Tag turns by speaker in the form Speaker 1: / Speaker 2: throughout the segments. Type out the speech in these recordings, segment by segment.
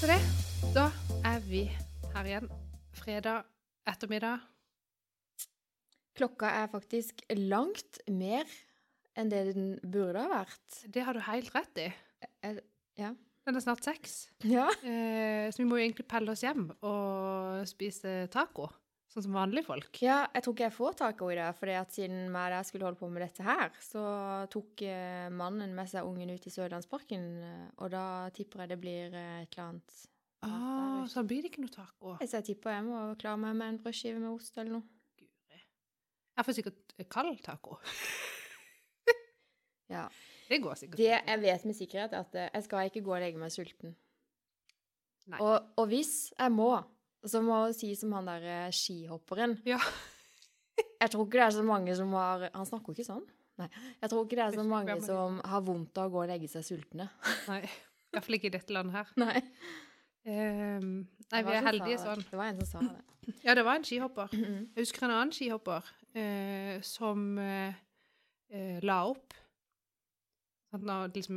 Speaker 1: Så det, da er vi her igjen. Fredag ettermiddag.
Speaker 2: Klokka er faktisk langt mer enn det den burde ha vært.
Speaker 1: Det har du helt rett i.
Speaker 2: Eh, ja.
Speaker 1: Den er snart seks.
Speaker 2: Ja.
Speaker 1: Eh, så vi må jo egentlig pelle oss hjem og spise taco, sånn som vanlige folk.
Speaker 2: ja, jeg tror ikke jeg får taco i dag, for siden meg og deg skulle holde på med dette her, så tok eh, mannen med seg ungen ut i Sørlandsparken, eh, og da tipper jeg det blir eh, et eller annet.
Speaker 1: Ah, så da blir det ikke noe taco.
Speaker 2: Så jeg tipper jeg må klare meg med en brødskive med ost eller noe.
Speaker 1: Guri. Jeg får sikkert kald taco.
Speaker 2: Ja.
Speaker 1: Det går sikkert.
Speaker 2: Det jeg vet med sikkerhet, er at eh, jeg skal ikke gå og legge meg sulten.
Speaker 1: Nei.
Speaker 2: Og, og hvis jeg må, så må jeg si som han der eh, skihopperen
Speaker 1: Ja.
Speaker 2: Jeg tror ikke det er så mange som har Han snakker jo ikke sånn. Nei. Jeg tror ikke det er
Speaker 1: Det
Speaker 2: så
Speaker 1: er
Speaker 2: mange
Speaker 1: ikke-
Speaker 2: som har vondt av å gå og legge seg sultne.
Speaker 1: Nei, i hvert fall ikke i dette landet her.
Speaker 2: Nei.
Speaker 1: Eh, nei,
Speaker 2: Det
Speaker 1: vi er
Speaker 2: var som
Speaker 1: heldige
Speaker 2: sa det.
Speaker 1: sånn.
Speaker 2: Det var en som sa det.
Speaker 1: Ja, det var en skihopper.
Speaker 2: Mhm.
Speaker 1: Jeg husker en annen skihopper eh, som eh, eh, la opp. Han hadde liksom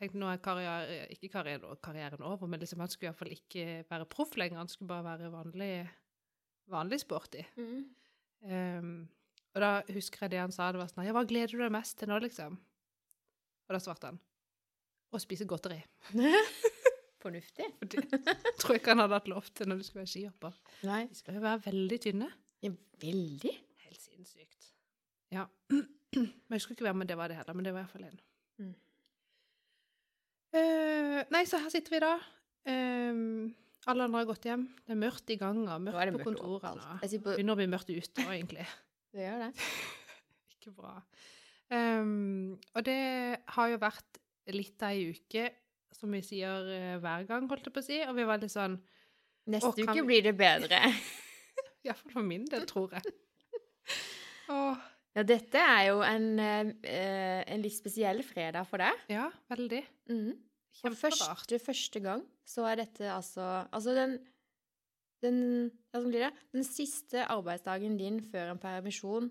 Speaker 1: tenkte nå er karriere, ikke karrieren, karrieren over, men liksom, han skulle iallfall ikke være proff lenger. Han skulle bare være vanlig, vanlig sporty.
Speaker 2: Mhm.
Speaker 1: Ehm, og da husker jeg det han sa. Det var sånn Ja, hva gleder du deg mest til nå, liksom? Og da svarte han å spise godteri.
Speaker 2: Fornuftig.
Speaker 1: Og det tror jeg ikke han hadde hatt lov til når du skulle være skihopper.
Speaker 2: Nei.
Speaker 1: De skal jo være veldig tynne.
Speaker 2: Ja, veldig.
Speaker 1: Helt sinnssykt. Ja. Men jeg husker ikke hvem det var det heller, men det var iallfall en.
Speaker 2: Mm.
Speaker 1: Eh, nei, så her sitter vi da. Eh, alle andre har gått hjem. Det er mørkt i ganger,
Speaker 2: Nå
Speaker 1: mørkt
Speaker 2: er det
Speaker 1: på altså.
Speaker 2: mørkt
Speaker 1: kontorene.
Speaker 2: overalt. Jeg sier på,
Speaker 1: Begynner å bli mørkt ute òg, egentlig.
Speaker 2: det gjør det.
Speaker 1: ikke bra. Eh, og det har jo vært litt av ei uke, som vi sier eh, hver gang, holdt jeg på å si. Og vi var litt sånn
Speaker 2: Neste
Speaker 1: Å, kan
Speaker 2: uke
Speaker 1: vi-
Speaker 2: blir det bedre.
Speaker 1: Iallfall for min del, tror jeg. Åh,
Speaker 2: Ja, dette er jo en, eh, eh, en litt spesiell fredag for deg.
Speaker 1: ja, veldig.
Speaker 2: Mhm. For
Speaker 1: Kjemperart.
Speaker 2: første, første gang så er dette altså Altså den den, ja, hvordan blir det? den siste arbeidsdagen din før en permisjon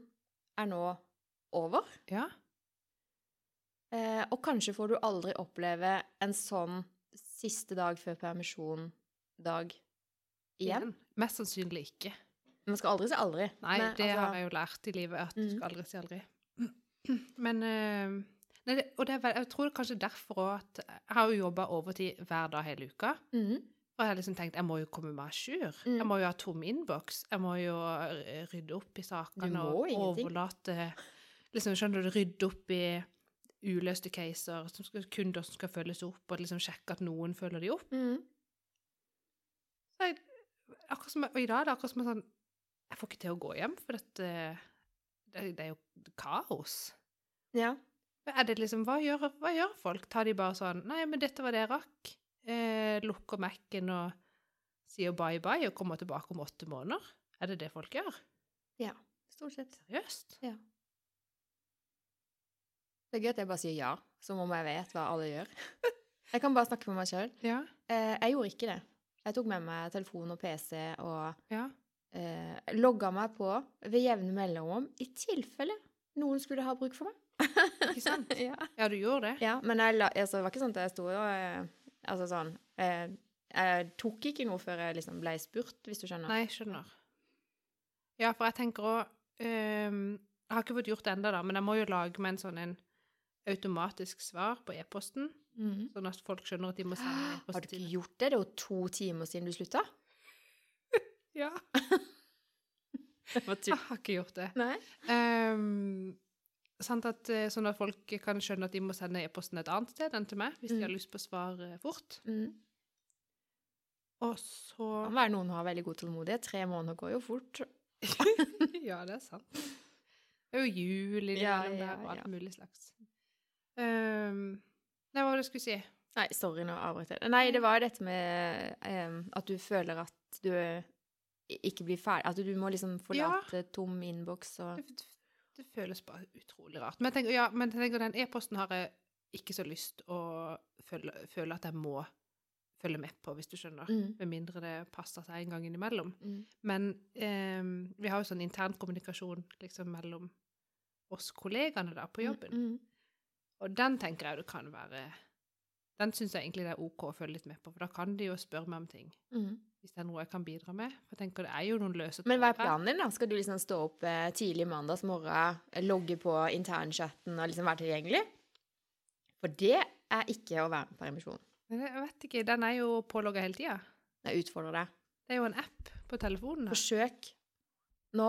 Speaker 2: er nå over.
Speaker 1: Ja.
Speaker 2: Eh, og kanskje får du aldri oppleve en sånn siste dag før permisjon-dag igjen.
Speaker 1: Mest sannsynlig ikke.
Speaker 2: Man skal aldri si aldri.
Speaker 1: Nei,
Speaker 2: men
Speaker 1: det
Speaker 2: altså,
Speaker 1: har jeg jo lært i livet, at du
Speaker 2: Mhm.
Speaker 1: skal aldri si aldri. Men eh, nei, det, Og det er vel, jeg tror kanskje derfor òg at Jeg har jo jobba overtid hver dag hele uka.
Speaker 2: mhm,
Speaker 1: Og jeg har liksom tenkt jeg må jo komme meg à jour.
Speaker 2: Mhm.
Speaker 1: Jeg må jo ha tom innboks. Jeg må jo eh, rydde opp i
Speaker 2: Du
Speaker 1: sakene
Speaker 2: må
Speaker 1: og
Speaker 2: ingenting.
Speaker 1: overlate liksom, Skjønner du, rydde opp i uløste caser, som skal, kunder som skal følges opp, og liksom sjekke at noen følger de opp.
Speaker 2: mhm.
Speaker 1: Så jeg, akkurat som, og i dag er det akkurat som en sånn Jeg får ikke til å gå hjem, for dette, det, det er jo kaos.
Speaker 2: Ja.
Speaker 1: Men Er det liksom, hva, gjør, hva gjør folk? Tar de bare sånn Nei, men dette var det jeg rakk. Eh, lukker Mac-en og sier bye bye og kommer tilbake om åtte måneder? Er det det folk gjør?
Speaker 2: Stort sett.
Speaker 1: Seriøst?
Speaker 2: Det er gøy at jeg bare sier ja, som om jeg vet hva alle gjør. Jeg kan bare snakke med meg sjøl.
Speaker 1: Ja.
Speaker 2: Eh, jeg gjorde ikke det. Jeg tok med meg telefon og PC og
Speaker 1: Ja.
Speaker 2: eh, logga meg på ved jevne mellomrom i tilfelle noen skulle ha bruk for meg.
Speaker 1: Ikke sant?
Speaker 2: ja.
Speaker 1: Ja, du gjorde det?
Speaker 2: ja, Men jeg la, altså, det var ikke sånn at jeg sto og eh, Altså sånn eh, Jeg tok ikke noe før jeg liksom ble spurt, hvis du skjønner.
Speaker 1: Nei, skjønner. Ja, for jeg tenker òg Jeg har ikke fått gjort det ennå, da, men jeg må jo lage meg en sånn en automatisk svar på e-posten.
Speaker 2: Mhm.
Speaker 1: Sånn at folk skjønner at de må sende en
Speaker 2: Har du
Speaker 1: e-post
Speaker 2: ikke
Speaker 1: til
Speaker 2: gjort det? Det er jo to timer siden du slutta.
Speaker 1: Ja.
Speaker 2: Hva
Speaker 1: Jeg har ikke gjort det.
Speaker 2: Ah, Nei.
Speaker 1: Ehm, sant at, eh, sånn at folk kan skjønne at de må sende e-posten et annet sted enn til meg, hvis de
Speaker 2: Mm.
Speaker 1: har lyst på svar eh, fort.
Speaker 2: Mm.
Speaker 1: Og
Speaker 2: Det
Speaker 1: så
Speaker 2: kan være noen har veldig god tålmodighet. Tre måneder går jo fort.
Speaker 1: Ja, det er sant. Det er jo jul
Speaker 2: Ja,
Speaker 1: innimellom
Speaker 2: ja,
Speaker 1: der, og alt
Speaker 2: ja.
Speaker 1: mulig slags. Ehm, nei, hva var det jeg skulle si?
Speaker 2: Nei, sorry, nå avbrøt jeg. deg.
Speaker 1: Mm.
Speaker 2: Nei, det var dette med em, at du føler at du i- ikke blir ferdig At du må liksom forlate tom innboks og
Speaker 1: Det, det, det føles bare utrolig rart. Men jeg tenker, ja, men jeg tenker den e-posten har jeg ikke så lyst å føle, føle at jeg må følge med på, hvis du skjønner.
Speaker 2: Mm.
Speaker 1: Med mindre det passer seg en gang innimellom.
Speaker 2: Mm.
Speaker 1: Men eh, vi har jo sånn intern kommunikasjon liksom, mellom oss kollegaene da, på jobben.
Speaker 2: Mm.
Speaker 1: Og den tenker jeg det kan være Den syns jeg egentlig det er OK å følge litt med på, for da kan de jo spørre meg om ting.
Speaker 2: Mm.
Speaker 1: Hvis det er noe jeg kan bidra med. For jeg tenker det er jo noen løse
Speaker 2: Men hva er
Speaker 1: tråder her.
Speaker 2: planen din, da? Skal du liksom stå opp eh, tidlig mandagsmorgen, eh, logge på internchatten og liksom være tilgjengelig? For det er ikke å være på permisjon.
Speaker 1: Men jeg vet ikke, den er jo pålogga hele tida.
Speaker 2: Jeg utfordrer deg.
Speaker 1: Det er jo en app på telefonen. her.
Speaker 2: Forsøk nå,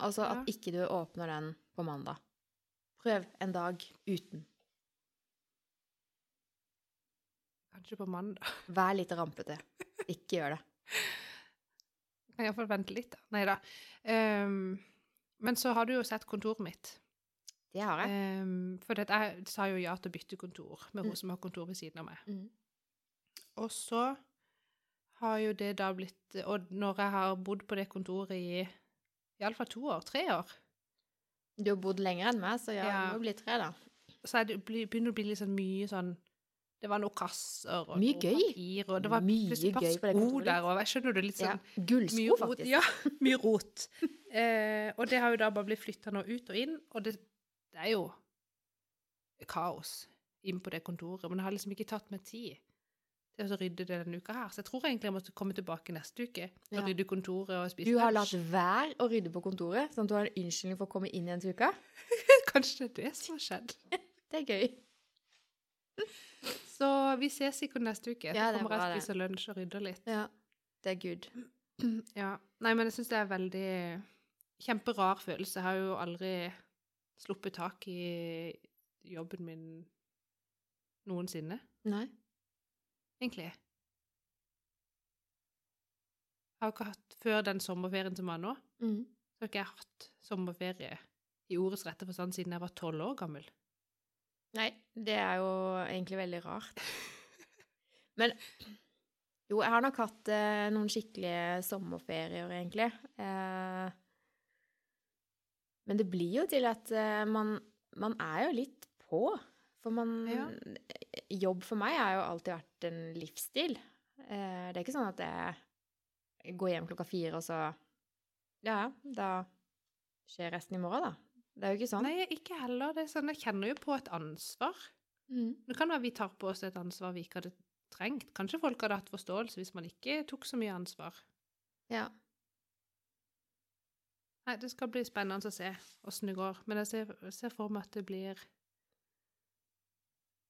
Speaker 2: altså
Speaker 1: Ja.
Speaker 2: at ikke du åpner den på mandag. Prøv en dag uten.
Speaker 1: Kanskje på mandag.
Speaker 2: Vær litt rampete. Ikke gjør det.
Speaker 1: Jeg kan iallfall vente litt, da. Nei da. men så har du jo sett kontoret mitt.
Speaker 2: Det har jeg.
Speaker 1: Um, for det, jeg sa jo ja til å bytte kontor med hun
Speaker 2: Mm.
Speaker 1: som har kontor ved siden av meg.
Speaker 2: Mm.
Speaker 1: Og så har jo det da blitt Og når jeg har bodd på det kontoret i iallfall to år, tre år,
Speaker 2: Du har bodd lenger enn meg, så ja,
Speaker 1: Ja.
Speaker 2: det må bli tre, da.
Speaker 1: så er det, bli- begynner det å bli litt sånn mye sånn Det var noen kasser og
Speaker 2: Mye
Speaker 1: noe
Speaker 2: gøy.
Speaker 1: papir, og det var
Speaker 2: Mye
Speaker 1: plutselig et par
Speaker 2: gøy på det
Speaker 1: sko
Speaker 2: kontoret
Speaker 1: der, og jeg skjønner du litt
Speaker 2: Ja.
Speaker 1: sånn
Speaker 2: Gullsko,
Speaker 1: rot.
Speaker 2: faktisk.
Speaker 1: Ja, mye rot. Eh, og det har jo da bare blitt flytta nå ut og inn, og det, det er jo kaos inn på det kontoret. Men jeg har liksom ikke tatt meg tid til å rydde det denne uka her. Så jeg tror egentlig jeg måtte komme tilbake neste uke og
Speaker 2: Ja.
Speaker 1: rydde kontoret og spise
Speaker 2: Du har latt
Speaker 1: lunsj.
Speaker 2: være å rydde på kontoret, sånn at du har en unnskyldning for å komme inn igjen til uka.
Speaker 1: Kanskje det er det som har skjedd.
Speaker 2: Det er gøy.
Speaker 1: Så vi ses sikkert neste uke.
Speaker 2: Ja,
Speaker 1: så
Speaker 2: det er
Speaker 1: kommer jeg
Speaker 2: bra,
Speaker 1: og
Speaker 2: det.
Speaker 1: spiser lunsj og rydder litt.
Speaker 2: Ja, det er good.
Speaker 1: Ja. Nei, men jeg syns det er veldig Kjemperar følelse. Jeg har jo aldri sluppet tak i jobben min noensinne,
Speaker 2: Nei.
Speaker 1: egentlig. Jeg har jo ikke hatt Før den sommerferien som var nå,
Speaker 2: Mm.
Speaker 1: så har ikke jeg hatt sommerferie i ordets rette forstand siden jeg var tolv år gammel.
Speaker 2: Nei, det er jo egentlig veldig rart. Men jo, jeg har nok hatt eh, noen skikkelige sommerferier, egentlig. Eh, men det blir jo til at eh, man, man er jo litt på. For man
Speaker 1: Ja.
Speaker 2: Jobb for meg har jo alltid vært en livsstil. Eh, det er ikke sånn at jeg går hjem klokka fire, og så Ja, da skjer resten i morgen, da. Det er jo ikke sånn.
Speaker 1: Nei, ikke heller. Det er sånn, Jeg kjenner jo på et ansvar.
Speaker 2: Mm.
Speaker 1: Det kan være vi tar på oss et ansvar vi ikke hadde trengt. Kanskje folk hadde hatt forståelse hvis man ikke tok så mye ansvar.
Speaker 2: Ja.
Speaker 1: Nei, det skal bli spennende å se åssen det går. Men jeg ser, ser for meg at det blir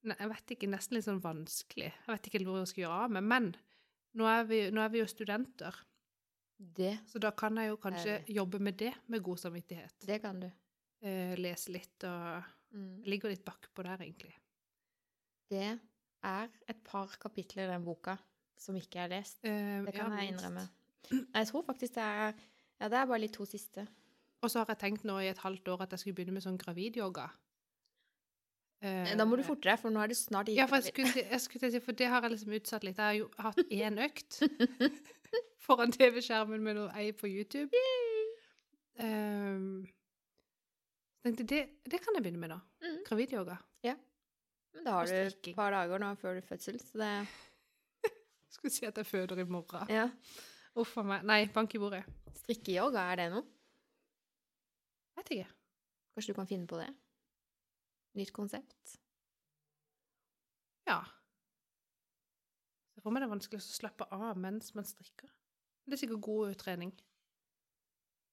Speaker 1: Nei, jeg vet ikke, nesten litt sånn vanskelig. Jeg vet ikke hvor jeg skal gjøre av meg. Men nå er, vi, nå er vi jo studenter,
Speaker 2: Det,
Speaker 1: så da kan jeg jo kanskje
Speaker 2: Er
Speaker 1: jobbe med det med god samvittighet.
Speaker 2: det kan du.
Speaker 1: Eh, lese litt og
Speaker 2: Mm.
Speaker 1: Jeg ligger litt bakpå der, egentlig.
Speaker 2: Det er et par kapitler i den boka som ikke er lest.
Speaker 1: Eh,
Speaker 2: Det kan
Speaker 1: ja,
Speaker 2: jeg
Speaker 1: minst.
Speaker 2: innrømme. Nei, Jeg tror faktisk det er Ja, det er bare de to siste.
Speaker 1: Og så har jeg tenkt nå i et halvt år at jeg skulle begynne med sånn gravidyoga.
Speaker 2: Nei,
Speaker 1: Eh,
Speaker 2: Da må du forte deg, for nå er du snart
Speaker 1: Ja, for jeg skulle, til- jeg skulle til å si, for det har jeg liksom utsatt litt. Jeg har jo hatt én økt foran TV-skjermen med noe ei på YouTube. Um, tenkte, det, det kan jeg begynne med nå.
Speaker 2: Mm.
Speaker 1: Gravidyoga.
Speaker 2: Men Da har du et
Speaker 1: strikking.
Speaker 2: par dager nå før du fødsel, så det
Speaker 1: Skulle si at jeg føder i morgen.
Speaker 2: Ja.
Speaker 1: Uff a meg. Nei, bank i bordet.
Speaker 2: Strikkeyoga, er det noe?
Speaker 1: Vet ikke.
Speaker 2: Kanskje du kan finne på det? Nytt konsept?
Speaker 1: Ja. Så for meg er det vanskelig å slappe av mens man strikker. Men Det er sikkert god trening.
Speaker 2: Ja.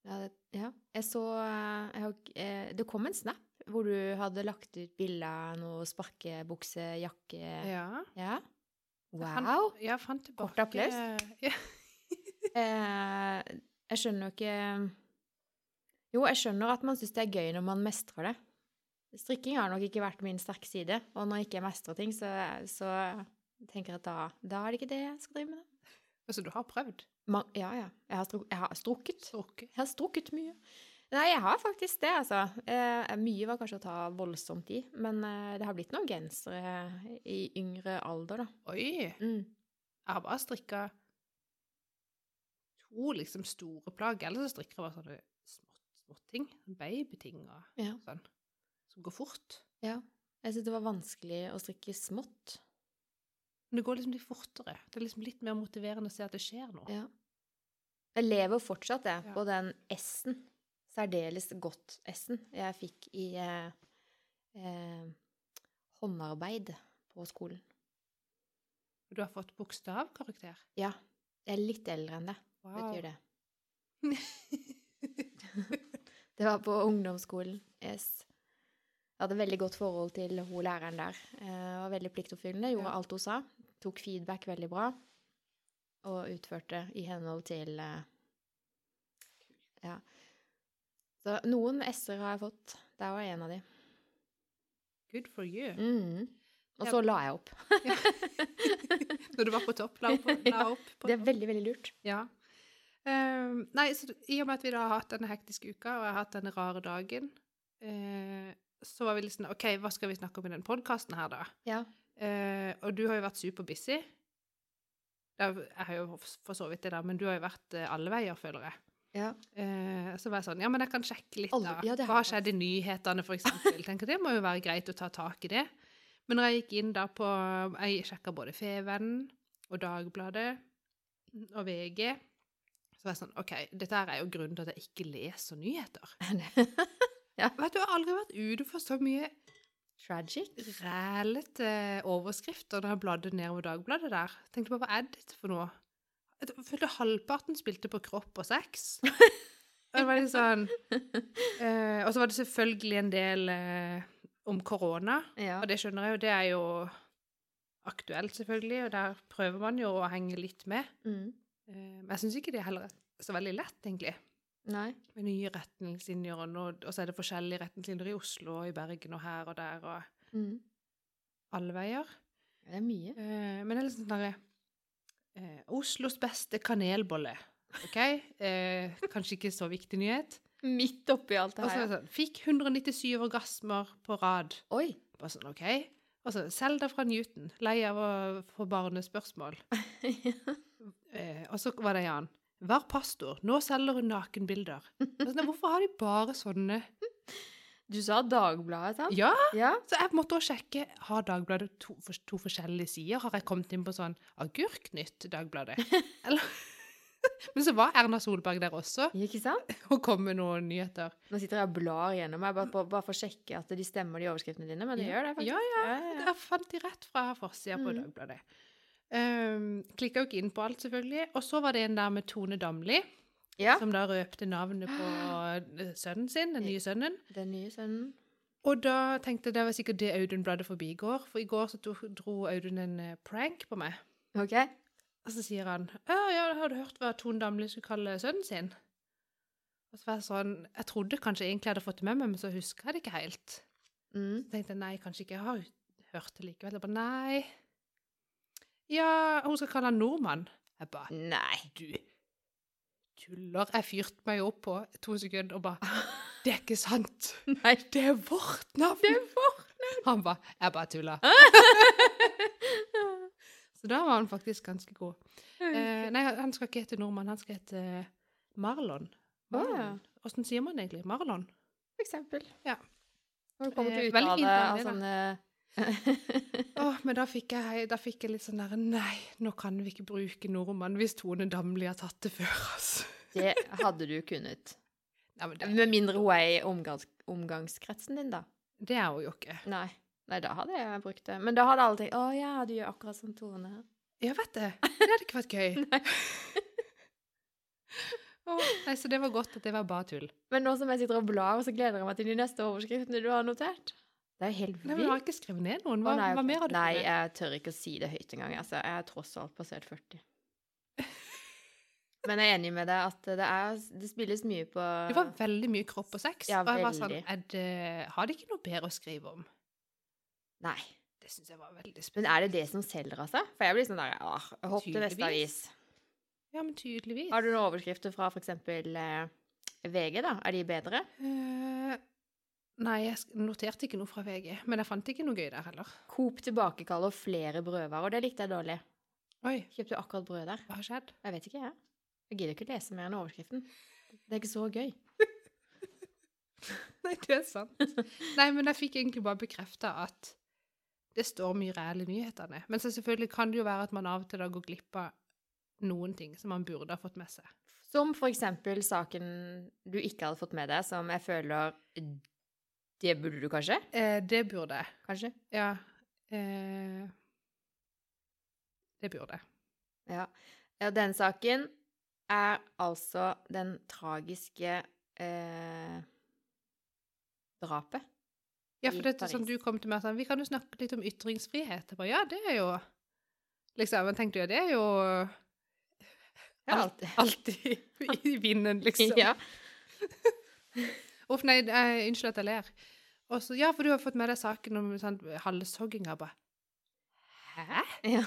Speaker 2: Det, ja. Jeg så eh, jeg, har ikke- eh, Det kom en snap hvor du hadde lagt ut bilde av noe sparkebukse, jakke
Speaker 1: Ja.
Speaker 2: Ja.
Speaker 1: Jeg fant-
Speaker 2: Wow!
Speaker 1: Ja, jeg fant tilbake
Speaker 2: Kort applaus.
Speaker 1: Ja.
Speaker 2: Eh, jeg skjønner jo ikke Jo, jeg skjønner at man syns det er gøy når man mestrer det. Strikking har nok ikke vært min sterke side, og når jeg ikke mestrer ting, så, så tenker jeg at da, da er det ikke det jeg skal drive med. da.
Speaker 1: Altså, du har prøvd?
Speaker 2: Man, ja, ja. Jeg har, struk, jeg har strukket.
Speaker 1: Strukket?
Speaker 2: Jeg har strukket mye. Nei, jeg har faktisk det, altså. Eh, mye var kanskje å ta voldsomt i, men eh, det har blitt noen gensere i yngre alder, da.
Speaker 1: Oi!
Speaker 2: Mm.
Speaker 1: Jeg har bare strikka to liksom store plagg. Ellers så strikker jeg bare sånne smått, småting. Babyting og
Speaker 2: Ja.
Speaker 1: sånn. Som går fort.
Speaker 2: Ja. Jeg syntes det var vanskelig å strikke smått.
Speaker 1: Men det går liksom litt fortere. Det er liksom litt mer motiverende å se at det skjer noe.
Speaker 2: Ja. Jeg lever fortsatt, jeg,
Speaker 1: Ja.
Speaker 2: på den S-en. Særdeles godt S-en jeg fikk i eh, eh, håndarbeid på skolen.
Speaker 1: Du har fått bokstavkarakter.
Speaker 2: Ja. Jeg er litt eldre enn det, betyr det. Det var på ungdomsskolen. Yes. Jeg hadde veldig godt forhold til hun læreren der. Eh, var veldig pliktoppfyllende, gjorde
Speaker 1: Ja.
Speaker 2: alt hun sa. Tok feedback veldig bra. Og utførte i henhold til eh, Ja. Så noen S-er har jeg fått. Der var en av de.
Speaker 1: Good for you.
Speaker 2: Mhm. Og
Speaker 1: Ja.
Speaker 2: så la jeg opp.
Speaker 1: Når du var på topp, la opp. La
Speaker 2: Ja,
Speaker 1: opp på
Speaker 2: Det er veldig, veldig lurt.
Speaker 1: Ja. Ehm, nei, så det- I og med at vi da har hatt denne hektiske uka, og jeg har hatt denne rare dagen, eh, så var vi litt sånn OK, hva skal vi snakke om i den podkasten her, da?
Speaker 2: Ja.
Speaker 1: Eh, og du har jo vært superbusy. Det har- Jeg har jo for så vidt det der, men du har jo vært eh, alle veier, føler jeg.
Speaker 2: ja.
Speaker 1: Eh, så var jeg sånn Ja, men jeg kan sjekke litt, da.
Speaker 2: Alle- ja, det
Speaker 1: Hva
Speaker 2: har
Speaker 1: har skjedd i nyhetene, for eksempel? Tenker det må jo være greit å ta tak i det. Men når jeg gikk inn da på Jeg sjekka både Fevennen og Dagbladet og VG. Så var jeg sånn OK, dette her er jo grunnen til at jeg ikke leser nyheter. Vet du, jeg har aldri vært ute for så mye
Speaker 2: Tragic.
Speaker 1: rælete overskrifter eh, da jeg bladde nedover Dagbladet der. Tenkte på hva er dette for noe? Jeg følte halvparten spilte på kropp og sex. Og det var litt sånn eh, Og så var det selvfølgelig en del eh, om korona.
Speaker 2: Ja.
Speaker 1: Og det skjønner jeg jo, det er jo aktuelt, selvfølgelig, og der prøver man jo å henge litt med.
Speaker 2: Mm.
Speaker 1: Eh, Men jeg syns ikke det heller er så veldig lett, egentlig.
Speaker 2: Nei.
Speaker 1: Med nye retningslinjer, og, nå, og så er det forskjellige retningslinjer i Oslo og i Bergen og her og der og
Speaker 2: Mm.
Speaker 1: alle veier.
Speaker 2: Det er mye.
Speaker 1: Eh, men det er litt sånn derre eh, Oslos beste kanelbolle. OK? Eh, kanskje ikke så viktig nyhet.
Speaker 2: Midt oppi alt
Speaker 1: Og så er det sånn Fikk 197 orgasmer på rad.
Speaker 2: Oi.
Speaker 1: Bare sånn, OK? Og så Selda fra Newton. Lei av å få barnespørsmål.
Speaker 2: sånn,
Speaker 1: Eh, og så var det en annen. Var pastor. Nå selger hun nakenbilder. Og Sånn, hvorfor har de bare sånne?
Speaker 2: Du sa Dagbladet, sant?
Speaker 1: Ja!
Speaker 2: Ja.
Speaker 1: Så jeg måtte også sjekke har Dagbladet to, for, to forskjellige sider. Har jeg kommet inn på sånn Agurknytt, Dagbladet? Eller Men så var Erna Solberg der også
Speaker 2: Ikke sant?
Speaker 1: og kom med noen nyheter.
Speaker 2: Nå sitter jeg og blar gjennom meg bare, bare for å sjekke at de stemmer, de overskriftene dine. Men det
Speaker 1: Ja.
Speaker 2: gjør det, faktisk.
Speaker 1: Ja,
Speaker 2: ja, ja.
Speaker 1: Der fant de rett fra forsida på
Speaker 2: Mhm.
Speaker 1: Dagbladet. Um, Klikka jo ikke inn på alt, selvfølgelig. Og så var det en der med Tone Damli,
Speaker 2: Ja.
Speaker 1: som da røpte navnet på eh, sønnen sin, den nye sønnen.
Speaker 2: Den nye sønnen.
Speaker 1: Og da tenkte jeg det var sikkert det Audun-bladet forbigår, for i går så tok- dro Audun en eh, prank på meg.
Speaker 2: OK.
Speaker 1: Og så sier han «Å, ja, har du hørt hva Tone Damli skulle kalle sønnen sin? Og så var jeg sånn Jeg trodde kanskje egentlig jeg hadde fått det med meg, men så husker jeg det ikke helt.
Speaker 2: Mm.
Speaker 1: Så tenkte jeg nei, kanskje ikke jeg har hørt det likevel. Jeg bare nei. Ja, hun skal kalle han nordmann. Jeg bare
Speaker 2: Nei.
Speaker 1: du tuller. Jeg fyrte meg opp på to sekunder og bare Det er ikke sant!
Speaker 2: Nei.
Speaker 1: Det er vårt navn! Det er vårt navn! Han bare Jeg bare tulla. Så da var han faktisk ganske god. Eh, nei, han skal ikke hete nordmann, han skal hete eh, Marlon.
Speaker 2: Å, ja.
Speaker 1: Marlon. Åssen sier man det egentlig? Marlon?
Speaker 2: For eksempel.
Speaker 1: Ja.
Speaker 2: Når det kommer til
Speaker 1: Eh, veldig fint
Speaker 2: uttale av
Speaker 1: navn,
Speaker 2: sånne
Speaker 1: Åh, men da fikk, jeg, da fikk jeg litt sånn der Nei, nå kan vi ikke bruke nordmann hvis Tone Damli har tatt det før, altså.
Speaker 2: Det hadde du kunnet.
Speaker 1: Nei, men det,
Speaker 2: Med mindre hun er i omgangs omgangskretsen din, da.
Speaker 1: det er hun jo ikke.
Speaker 2: Nei. Nei, da hadde jeg brukt det. Men da hadde alle tenkt 'Å ja, du gjør akkurat som Tone'.
Speaker 1: Ja, vet det. Det hadde ikke vært gøy. Nei. nei, så det var godt at det var bare tull.
Speaker 2: Men nå som jeg sitter og blar, så gleder jeg meg til de neste overskriftene du har notert. Det er jo helt
Speaker 1: Nei, men jeg
Speaker 2: vilt.
Speaker 1: har ikke skrevet ned noen.
Speaker 2: Å,
Speaker 1: Hva,
Speaker 2: nei,
Speaker 1: hva mer har du
Speaker 2: Nei,
Speaker 1: skrevet?
Speaker 2: jeg tør ikke å si det høyt engang. Altså, jeg er tross alt passert 40. Men jeg er enig med deg at det, er, det spilles mye på
Speaker 1: Det var veldig mye kropp og sex.
Speaker 2: Ja,
Speaker 1: og jeg var sånn
Speaker 2: veldig.
Speaker 1: er det, Har de ikke noe bedre å skrive om?
Speaker 2: Nei.
Speaker 1: Det syns jeg var veldig spesielt.
Speaker 2: Men er det det som selger, altså? For jeg blir sånn der ah, Hopp til neste avis.
Speaker 1: Tydeligvis. Ja, men tydeligvis.
Speaker 2: Har du noen overskrifter fra f.eks. Eh, VG, da? Er de bedre?
Speaker 1: Eh, nei, jeg sk- noterte ikke noe fra VG, men jeg fant ikke noe gøy der heller.
Speaker 2: Coop tilbakekaller flere brødvarer. Det likte jeg dårlig.
Speaker 1: Oi,
Speaker 2: Kjøpte jo akkurat brød der.
Speaker 1: hva har skjedd?
Speaker 2: Jeg vet ikke, jeg. Jeg gidder ikke å lese mer enn overskriften. Det er ikke så gøy.
Speaker 1: Nei, det er sant. nei, men jeg fikk egentlig bare bekrefta at det står mye ræl i nyhetene. Men så selvfølgelig kan det jo være at man av og til da går glipp av noen ting som man burde ha fått med seg.
Speaker 2: Som for eksempel saken du ikke hadde fått med deg, som jeg føler Det burde du kanskje?
Speaker 1: Eh, det burde jeg.
Speaker 2: Kanskje?
Speaker 1: Ja. Eh, det burde jeg.
Speaker 2: Ja. ja den saken er altså den tragiske eh, drapet.
Speaker 1: Ja,
Speaker 2: I
Speaker 1: for det er sånn
Speaker 2: Paris.
Speaker 1: du kom til meg sånn Vi kan jo snakke litt om ytringsfrihet. Jeg bare, ja, det er jo Liksom, men tenkte jo, det er jo
Speaker 2: Ja,
Speaker 1: Alt- alltid i vinden, liksom.
Speaker 2: ja.
Speaker 1: Uff, nei, eh, unnskyld at jeg ler. Og så, ja, for du har fått med deg saken om sånn halshogginga, bare. Hæ?
Speaker 2: Ja.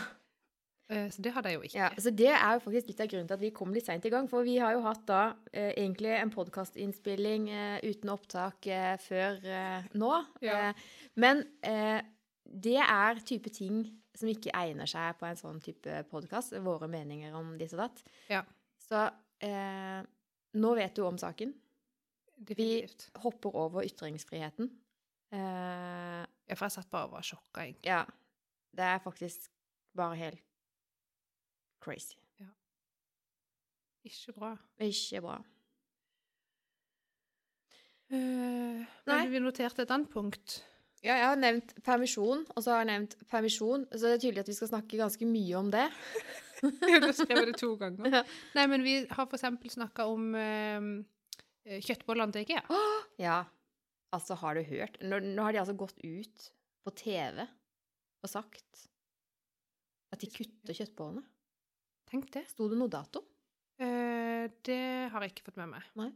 Speaker 1: Eh, Så det hadde jeg jo ikke.
Speaker 2: Ja, så Altså, Det er jo faktisk litt av grunnen til at vi kom litt seint i gang. For vi har jo hatt da eh, egentlig en podkastinnspilling eh, uten opptak eh, før eh, nå.
Speaker 1: Ja.
Speaker 2: Eh, men eh, det er type ting som ikke egner seg på en sånn type podkast. Våre meninger om ditt og datt.
Speaker 1: Ja.
Speaker 2: Så eh, nå vet du om saken.
Speaker 1: Definitivt.
Speaker 2: Hopper over ytringsfriheten. Eh,
Speaker 1: Ja, for jeg satt bare og var sjokka, egentlig.
Speaker 2: ja. Det er faktisk bare helt crazy.
Speaker 1: Ikke bra.
Speaker 2: Ikke bra.
Speaker 1: Eh,
Speaker 2: Nei.
Speaker 1: Men vi noterte et annet punkt.
Speaker 2: Ja, jeg har nevnt permisjon, og så har jeg nevnt permisjon, så det er tydelig at vi skal snakke ganske mye om det.
Speaker 1: Du skrev det to ganger.
Speaker 2: Ja.
Speaker 1: Nei, men vi har for eksempel snakka om eh, kjøttbollene til IKEA.
Speaker 2: Ja, altså har du hørt? Nå, nå har de altså gått ut på TV og sagt at de kutter kjøttbollene.
Speaker 1: Tenk det.
Speaker 2: Sto det noe dato?
Speaker 1: Eh, det har jeg ikke fått med meg.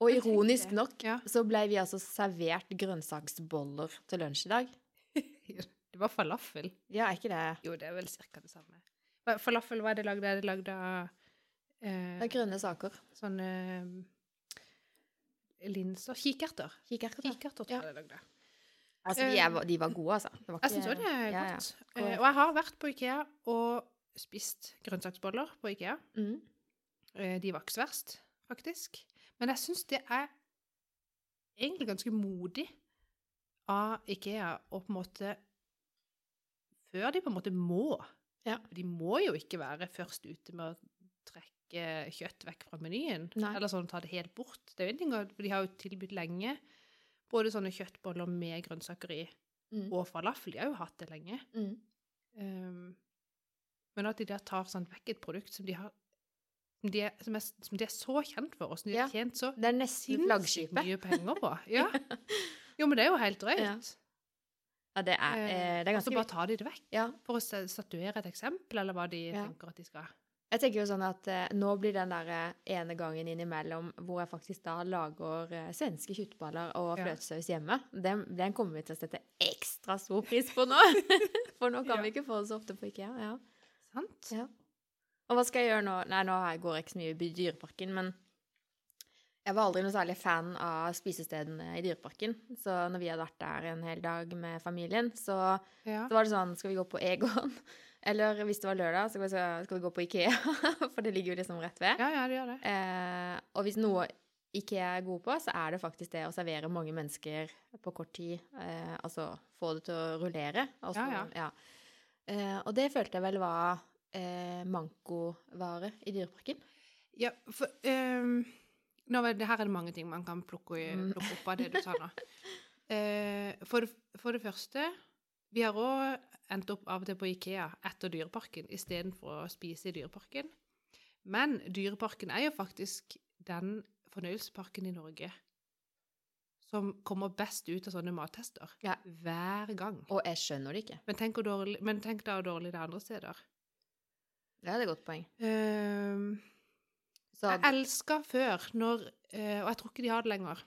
Speaker 2: Og
Speaker 1: Men tenk
Speaker 2: ironisk
Speaker 1: det.
Speaker 2: nok
Speaker 1: Ja.
Speaker 2: så ble vi altså servert grønnsaksboller til lunsj i dag.
Speaker 1: Det var falafel.
Speaker 2: Ja, er ikke det?
Speaker 1: Jo, det er vel cirka det samme. Hva- Falafel, hva er det lagd av? Er det lagd av
Speaker 2: Det
Speaker 1: eh,
Speaker 2: er grønne saker.
Speaker 1: sånne eh, linser? Kikerter.
Speaker 2: Kikerter. da.
Speaker 1: Kikerter, tror
Speaker 2: Ja.
Speaker 1: jeg det er lagd av.
Speaker 2: Altså, de, er, de var gode, altså. Det var
Speaker 1: Jeg
Speaker 2: ikke-
Speaker 1: syns òg det er
Speaker 2: Ja, ja.
Speaker 1: godt.
Speaker 2: Går-
Speaker 1: Eh, og jeg har vært på Ikea og spist grønnsaksboller på Ikea.
Speaker 2: Mm.
Speaker 1: Eh, De var ikke så verst, faktisk. Men jeg syns det er egentlig ganske modig av Ikea å på en måte Før de på en måte må.
Speaker 2: Ja.
Speaker 1: De må jo ikke være først ute med å trekke kjøtt vekk fra menyen.
Speaker 2: Nei.
Speaker 1: Eller sånn ta det helt bort. Det er jo en ting, at- for De har jo tilbudt lenge både sånne kjøttboller med grønnsaker i
Speaker 2: Mm.
Speaker 1: og falafel. De har jo hatt det lenge.
Speaker 2: Mm.
Speaker 1: Ehm, men at de der tar sånn vekk et produkt som de har som de er, som er, som de er så kjent for, og som de
Speaker 2: Ja.
Speaker 1: har tjent så
Speaker 2: Det er nesten
Speaker 1: sinnssykt
Speaker 2: flaggskipet.
Speaker 1: mye penger på. Ja. Jo, men det er jo helt drøyt.
Speaker 2: Ja. Ja, det er, eh, det er
Speaker 1: og så
Speaker 2: ganske
Speaker 1: bare tar de det vekk.
Speaker 2: Ja.
Speaker 1: For å se- statuere et eksempel, eller hva de
Speaker 2: Ja.
Speaker 1: tenker at de skal.
Speaker 2: Jeg tenker jo sånn at eh, nå blir den der eh, ene gangen innimellom hvor jeg faktisk da lager eh, svenske kjøttballer og
Speaker 1: Ja.
Speaker 2: fløtesaus hjemme, den, den kommer vi til å sette ekstra stor pris på nå. For nå kan
Speaker 1: Ja.
Speaker 2: vi ikke få det så ofte på IKEA. Ja.
Speaker 1: Sant?
Speaker 2: Ja. Og hva skal jeg gjøre nå? Nei, nå har jeg- går jeg ikke så mye i Dyreparken, men jeg var aldri noe særlig fan av spisestedene i Dyreparken. Så når vi hadde vært der en hel dag med familien, så
Speaker 1: Ja.
Speaker 2: Så var det sånn, skal vi gå på Egon? Eller hvis det var lørdag, så skal skal vi gå på Ikea, for det ligger jo liksom rett ved.
Speaker 1: ja, ja, de gjør det.
Speaker 2: Eh, og hvis noe Ikea er god på, så er det faktisk det å servere mange mennesker på kort tid. Eh, altså få det til å rullere. og så-
Speaker 1: Ja,
Speaker 2: ja. Eh, og det følte jeg vel var eh, mankovare i Dyreparken.
Speaker 1: Ja, for ehm, nå, var det Her er det mange ting man kan plukke, i-
Speaker 2: Mm.
Speaker 1: plukke opp av det du sa nå. Eh, for, det- for det første Vi har òg endt opp av og til på Ikea etter Dyreparken istedenfor å spise i Dyreparken. Men Dyreparken er jo faktisk den fornøyelsesparken i Norge som kommer best ut av sånne mattester
Speaker 2: Ja.
Speaker 1: hver gang.
Speaker 2: Og jeg skjønner det ikke.
Speaker 1: Men tenk, hvor dårlig, men tenk da hvor dårlig det er andre steder.
Speaker 2: Det er et godt poeng.
Speaker 1: Um,
Speaker 2: Så
Speaker 1: Jeg elska før, når eh, Og jeg tror ikke de har det lenger.